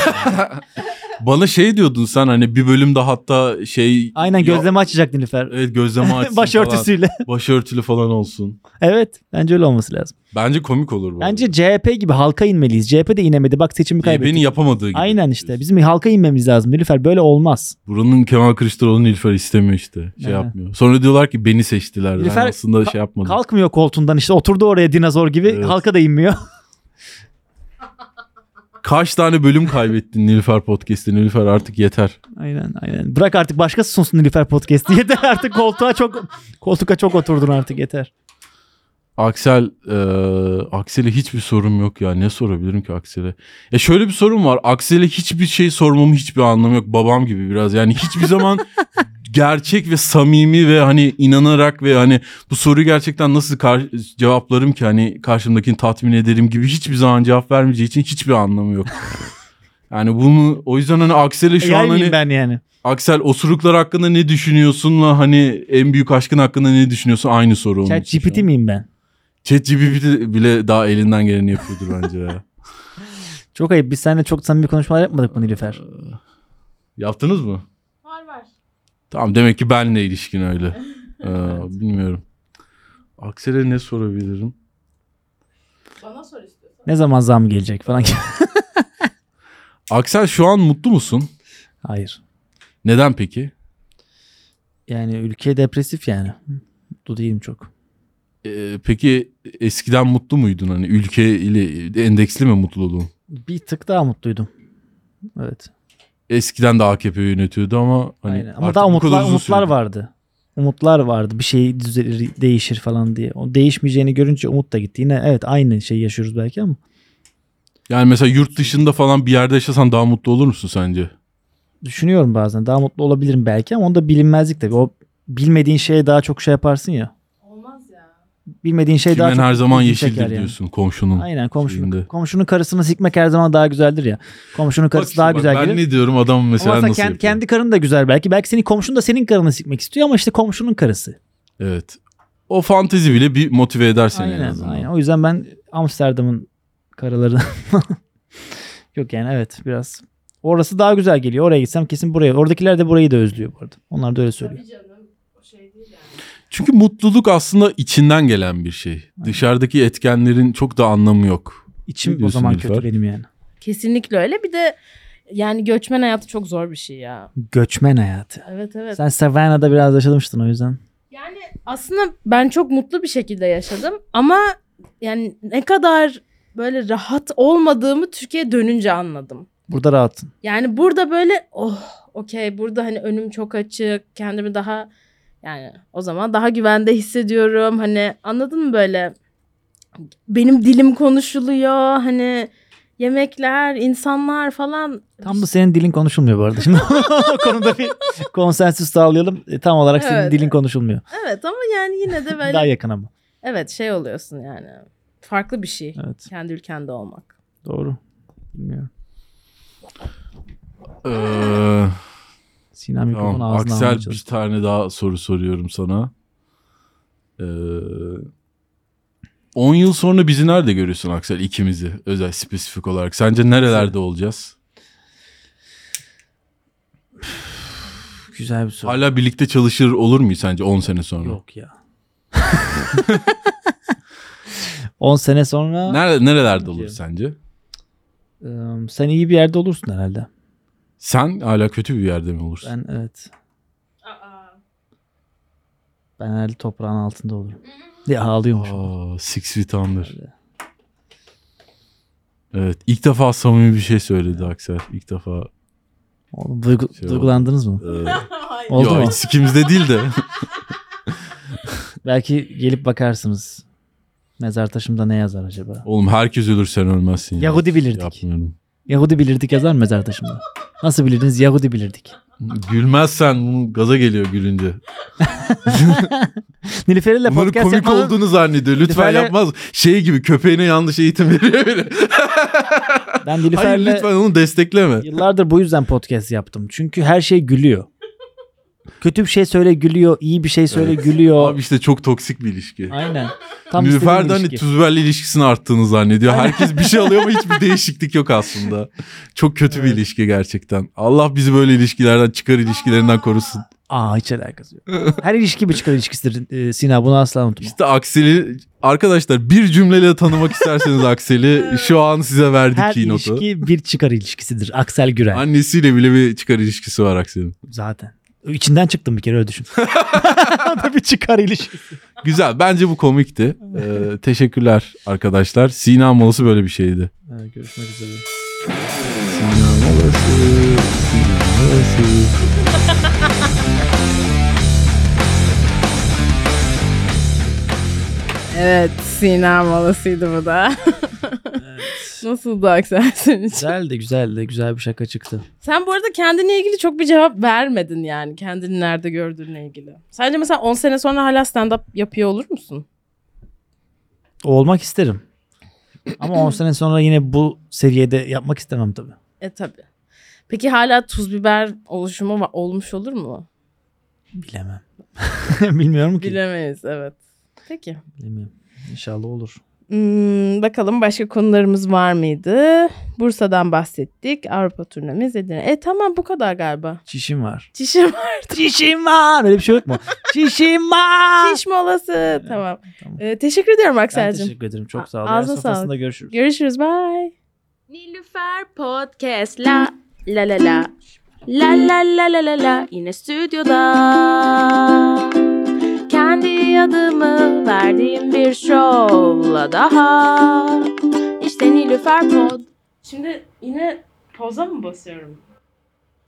[SPEAKER 4] Bana şey diyordun sen hani bir bölümde hatta şey...
[SPEAKER 3] Aynen gözleme açacak Nilüfer.
[SPEAKER 4] Evet gözleme açsın
[SPEAKER 3] Başörtüsüyle.
[SPEAKER 4] şey Falan. Başörtülü falan olsun.
[SPEAKER 3] evet. Bence öyle olması lazım.
[SPEAKER 4] Bence komik olur bu.
[SPEAKER 3] Bence CHP gibi halka inmeliyiz. CHP de inemedi. Bak seçimi
[SPEAKER 4] arada.
[SPEAKER 3] kaybetti.
[SPEAKER 4] beni yapamadığı gibi.
[SPEAKER 3] Aynen işte. Bizim halka inmemiz lazım Nilüfer. Böyle olmaz.
[SPEAKER 4] Buranın Kemal Kılıçdaroğlu Nilüfer istemiyor işte. Şey
[SPEAKER 3] Aynen.
[SPEAKER 4] yapmıyor. Sonra diyorlar ki beni seçtiler. Ben
[SPEAKER 3] Nilüfer
[SPEAKER 4] aslında
[SPEAKER 3] ka-
[SPEAKER 4] şey yapmadım.
[SPEAKER 3] Kalkmıyor koltuğundan işte. Oturdu oraya dinozor gibi.
[SPEAKER 4] Evet.
[SPEAKER 3] Halka da inmiyor.
[SPEAKER 4] Kaç tane bölüm kaybettin Nilüfer Podcast'te? Nilüfer artık yeter.
[SPEAKER 3] Aynen aynen. Bırak artık başkası sunsun Nilüfer Podcast'i. Yeter artık koltuğa çok koltuğa çok oturdun artık yeter.
[SPEAKER 4] Aksel, e, Aksel'e hiçbir sorum yok ya. Ne sorabilirim ki Aksel'e? Ya şöyle bir sorum var. Aksel'e hiçbir şey sormamın hiçbir anlamı yok. Babam gibi biraz. Yani hiçbir zaman gerçek ve samimi ve hani inanarak ve hani bu soruyu gerçekten nasıl kar- cevaplarım ki hani karşımdakini tatmin ederim gibi hiçbir zaman cevap vermeyeceği için hiçbir anlamı yok. Yani bunu o yüzden hani Aksel'e şu
[SPEAKER 3] Şu
[SPEAKER 4] an hani
[SPEAKER 3] ben E, yani.
[SPEAKER 4] Aksel osuruklar hakkında ne düşünüyorsunla hani en büyük aşkın hakkında ne düşünüyorsun aynı soru onun
[SPEAKER 3] Chat
[SPEAKER 4] için şu an.
[SPEAKER 3] GPT miyim ben?
[SPEAKER 4] ChatGPT bile daha elinden geleni yapıyordur bence ya.
[SPEAKER 3] Çok ayıp. Biz seninle çok samimi konuşmalar yapmadık mı Nilüfer?
[SPEAKER 4] Yaptınız mı?
[SPEAKER 2] Var var.
[SPEAKER 4] Tamam demek ki benle ilişkin öyle. Ee, bilmiyorum. Aksel'e ne sorabilirim?
[SPEAKER 2] Bana sor istiyorsan.
[SPEAKER 3] Ne zaman zam gelecek falan.
[SPEAKER 4] Aksel şu an mutlu musun?
[SPEAKER 3] Hayır.
[SPEAKER 4] Neden peki?
[SPEAKER 3] Yani ülke depresif yani. Mutlu değilim çok.
[SPEAKER 4] Ee, peki eskiden mutlu muydun hani ülke ile endeksli mi mutluluğun?
[SPEAKER 3] Bir tık daha mutluydum. Evet.
[SPEAKER 4] Eskiden de AKP yönetiyordu ama hani
[SPEAKER 3] Aynen. Ama
[SPEAKER 4] artık
[SPEAKER 3] daha
[SPEAKER 4] bu kadar
[SPEAKER 3] umutlar,
[SPEAKER 4] uzun
[SPEAKER 3] umutlar
[SPEAKER 4] sürdü.
[SPEAKER 3] vardı. Umutlar vardı. Bir şey düzelir, değişir falan diye. O değişmeyeceğini görünce umut da gitti. Yine evet aynı şeyi yaşıyoruz belki ama
[SPEAKER 4] Yani mesela yurt dışında falan bir yerde yaşasan daha mutlu olur musun sence?
[SPEAKER 3] düşünüyorum bazen. Daha mutlu olabilirim belki ama onu da bilinmezlik tabii. O bilmediğin şeye daha çok şey yaparsın ya.
[SPEAKER 2] Olmaz ya.
[SPEAKER 3] Bilmediğin şey daha
[SPEAKER 4] Kimen
[SPEAKER 3] çok
[SPEAKER 4] her zaman
[SPEAKER 3] ilgini
[SPEAKER 4] yeşildir
[SPEAKER 3] çeker yani.
[SPEAKER 4] diyorsun komşunun.
[SPEAKER 3] Aynen komşunun,
[SPEAKER 4] şeyinde.
[SPEAKER 3] komşunun karısını sikmek her zaman daha güzeldir ya. Komşunun
[SPEAKER 4] Bak
[SPEAKER 3] karısı
[SPEAKER 4] işte
[SPEAKER 3] daha
[SPEAKER 4] bak,
[SPEAKER 3] güzel
[SPEAKER 4] Ben
[SPEAKER 3] gelir.
[SPEAKER 4] ne diyorum adam mesela
[SPEAKER 3] Ama sen
[SPEAKER 4] nasıl
[SPEAKER 3] kend-
[SPEAKER 4] yapıyor?
[SPEAKER 3] kendi karın da güzel belki. Belki senin komşun da senin karını sikmek istiyor ama işte komşunun karısı.
[SPEAKER 4] Evet. O fantezi bile bir motive eder seni en
[SPEAKER 3] Aynen,
[SPEAKER 4] azından.
[SPEAKER 3] aynen. O yüzden ben Amsterdam'ın karıları Yok yani evet biraz. Orası daha güzel geliyor. Oraya gitsem kesin buraya. Oradakiler de burayı da özlüyor bu arada. Onlar da öyle söylüyor.
[SPEAKER 2] canım. O şey değil yani.
[SPEAKER 4] Çünkü mutluluk aslında içinden gelen bir şey. Dışarıdaki etkenlerin çok da anlamı yok. Ne
[SPEAKER 3] İçim o
[SPEAKER 4] diyorsun
[SPEAKER 3] zaman
[SPEAKER 4] Nilüfer?
[SPEAKER 3] kötü benim yani.
[SPEAKER 2] Kesinlikle öyle. Bir de yani göçmen hayatı çok zor bir şey ya.
[SPEAKER 3] Göçmen hayatı.
[SPEAKER 2] Evet evet.
[SPEAKER 3] Sen Savannah'da biraz yaşamıştın o yüzden.
[SPEAKER 2] Yani aslında ben çok mutlu bir şekilde yaşadım ama yani ne kadar böyle rahat olmadığımı Türkiye'ye dönünce anladım.
[SPEAKER 3] Burada rahatsın.
[SPEAKER 2] Yani burada böyle oh okey burada hani önüm çok açık kendimi daha yani o zaman daha güvende hissediyorum. Hani anladın mı böyle benim dilim konuşuluyor hani yemekler insanlar falan.
[SPEAKER 3] Tam da senin dilin konuşulmuyor bu arada. Şimdi o konuda bir konsensüs sağlayalım. E, tam olarak senin
[SPEAKER 2] Evet.
[SPEAKER 3] dilin konuşulmuyor.
[SPEAKER 2] Evet ama yani yine de
[SPEAKER 3] Daha
[SPEAKER 2] böyle
[SPEAKER 3] yakın ama.
[SPEAKER 2] evet şey oluyorsun yani farklı bir şey
[SPEAKER 3] Evet.
[SPEAKER 2] kendi ülkende olmak.
[SPEAKER 3] Doğru. Bilmiyorum.
[SPEAKER 4] Ee,
[SPEAKER 3] Sina mikrofonu
[SPEAKER 4] tamam.
[SPEAKER 3] ağzına
[SPEAKER 4] Aksel
[SPEAKER 3] almaya
[SPEAKER 4] bir
[SPEAKER 3] çalıştı.
[SPEAKER 4] tane daha soru soruyorum sana. Ee, 10 yıl sonra bizi nerede görüyorsun Aksel? İkimizi özel spesifik olarak. Sence nerelerde olacağız?
[SPEAKER 3] Güzel bir soru.
[SPEAKER 4] Hala birlikte çalışır olur muyuz sence 10 sene sonra?
[SPEAKER 3] Yok ya. 10 sene sonra
[SPEAKER 4] Nerede, nerelerde olur
[SPEAKER 3] Yok.
[SPEAKER 4] sence?
[SPEAKER 3] ım, sen iyi bir yerde olursun herhalde.
[SPEAKER 4] Sen hala kötü bir yerde mi olursun?
[SPEAKER 3] Ben evet. Ben herhalde toprağın altında olurum. Ya ağlıyormuş.
[SPEAKER 4] Aa, Six Feet Under. Evet. ilk defa samimi bir şey söyledi Aksel. İlk defa.
[SPEAKER 3] Oğlum, duygu-
[SPEAKER 4] Şey oldu.
[SPEAKER 3] duygulandınız mı?
[SPEAKER 4] E,
[SPEAKER 3] Oldu
[SPEAKER 4] yo,
[SPEAKER 3] mu?
[SPEAKER 4] hiç ikimizde değil de.
[SPEAKER 3] Belki gelip bakarsınız. Mezar taşımda ne yazar acaba?
[SPEAKER 4] Oğlum herkes ölür sen ölmezsin. ya.
[SPEAKER 3] Yahudi bilirdik.
[SPEAKER 4] Yapmıyorum.
[SPEAKER 3] Yahudi bilirdik yazar mı mezar taşımda? Nasıl bilirdiniz? Yahudi bilirdik.
[SPEAKER 4] Gülmezsen bunu gaza geliyor gülünce.
[SPEAKER 3] Nilüfer ile
[SPEAKER 4] Bunların
[SPEAKER 3] podcast
[SPEAKER 4] komik
[SPEAKER 3] yapmanın...
[SPEAKER 4] olduğunu zannediyor. Lütfen
[SPEAKER 3] Lütfen-
[SPEAKER 4] yapmaz. Şey gibi köpeğine yanlış eğitim veriyor bile.
[SPEAKER 3] Ben
[SPEAKER 4] Hayır
[SPEAKER 3] Nilüfer'le
[SPEAKER 4] lütfen onu destekleme.
[SPEAKER 3] Yıllardır bu yüzden podcast yaptım. Çünkü her şey gülüyor. Kötü bir şey söyle gülüyor, iyi bir şey söyle gülüyor.
[SPEAKER 4] Abi işte çok toksik bir ilişki.
[SPEAKER 3] Aynen. Tam
[SPEAKER 4] Nilüfer
[SPEAKER 3] istediğim
[SPEAKER 4] de hani
[SPEAKER 3] ilişki.
[SPEAKER 4] Tuzber'le ilişkisini arttığını zannediyor. Herkes bir şey alıyor ama hiçbir değişiklik yok aslında. Çok kötü bir ilişki gerçekten. Allah bizi böyle ilişkilerden çıkar ilişkilerinden korusun.
[SPEAKER 3] Aa hiç alakası yok. Her ilişki bir çıkar ilişkisidir e, Sina bunu asla unutma.
[SPEAKER 4] İşte Aksel'i arkadaşlar bir cümleyle tanımak isterseniz Aksel'i şu an size verdik
[SPEAKER 3] Her
[SPEAKER 4] keynote'u.
[SPEAKER 3] ilişki bir çıkar ilişkisidir. Aksel Gürel
[SPEAKER 4] Annesiyle bile bir çıkar ilişkisi var Aksel'in.
[SPEAKER 3] zaten. İçinden çıktım bir kere öyle düşün. O da bir çıkar ilişkisi.
[SPEAKER 4] Güzel bence bu komikti. Ee, teşekkürler arkadaşlar. Sina molası böyle bir şeydi.
[SPEAKER 3] görüşmek üzere.
[SPEAKER 2] Evet Sinem molasıydı bu da. Nasıldı aksan senin için?
[SPEAKER 3] Güzeldi güzeldi. Güzel bir şaka çıktı.
[SPEAKER 2] Sen bu arada kendine ilgili çok bir cevap vermedin yani. Kendini nerede gördüğünle ilgili. Sence mesela 10 sene sonra hala stand-up yapıyor olur musun?
[SPEAKER 3] O olmak isterim. Ama 10 sene sonra yine bu seviyede yapmak istemem tabii.
[SPEAKER 2] E tabii. Peki hala tuz biber oluşumu va- olmuş olur mu?
[SPEAKER 3] Bilemem. Bilmiyorum ki.
[SPEAKER 2] Bilemeyiz evet. Peki.
[SPEAKER 3] Bilemiyorum. İnşallah olur.
[SPEAKER 2] Hmm, bakalım başka konularımız var mıydı? Bursa'dan bahsettik. Avrupa turnemiz Edirne. E tamam bu kadar galiba.
[SPEAKER 3] Çişim var.
[SPEAKER 2] Çişim
[SPEAKER 3] Çişim var. Öyle bir şey yok mu? Çişim var.
[SPEAKER 2] çiş molası. Tamam.
[SPEAKER 3] tamam.
[SPEAKER 2] E, teşekkür ediyorum
[SPEAKER 3] Ben
[SPEAKER 2] Aksel'cim.
[SPEAKER 3] teşekkür ederim.
[SPEAKER 2] A-
[SPEAKER 3] Çok sağ ol.
[SPEAKER 2] ağzına
[SPEAKER 3] Ağzına sofrasında görüşürüz.
[SPEAKER 2] Görüşürüz. Bye.
[SPEAKER 1] Nilüfer Podcast la la la la La
[SPEAKER 2] Hmm.
[SPEAKER 1] la la la la la yine stüdyoda Kendi adımı verdiğim bir şovla daha İşte Nilüfer Pod
[SPEAKER 2] Şimdi yine poza mı basıyorum?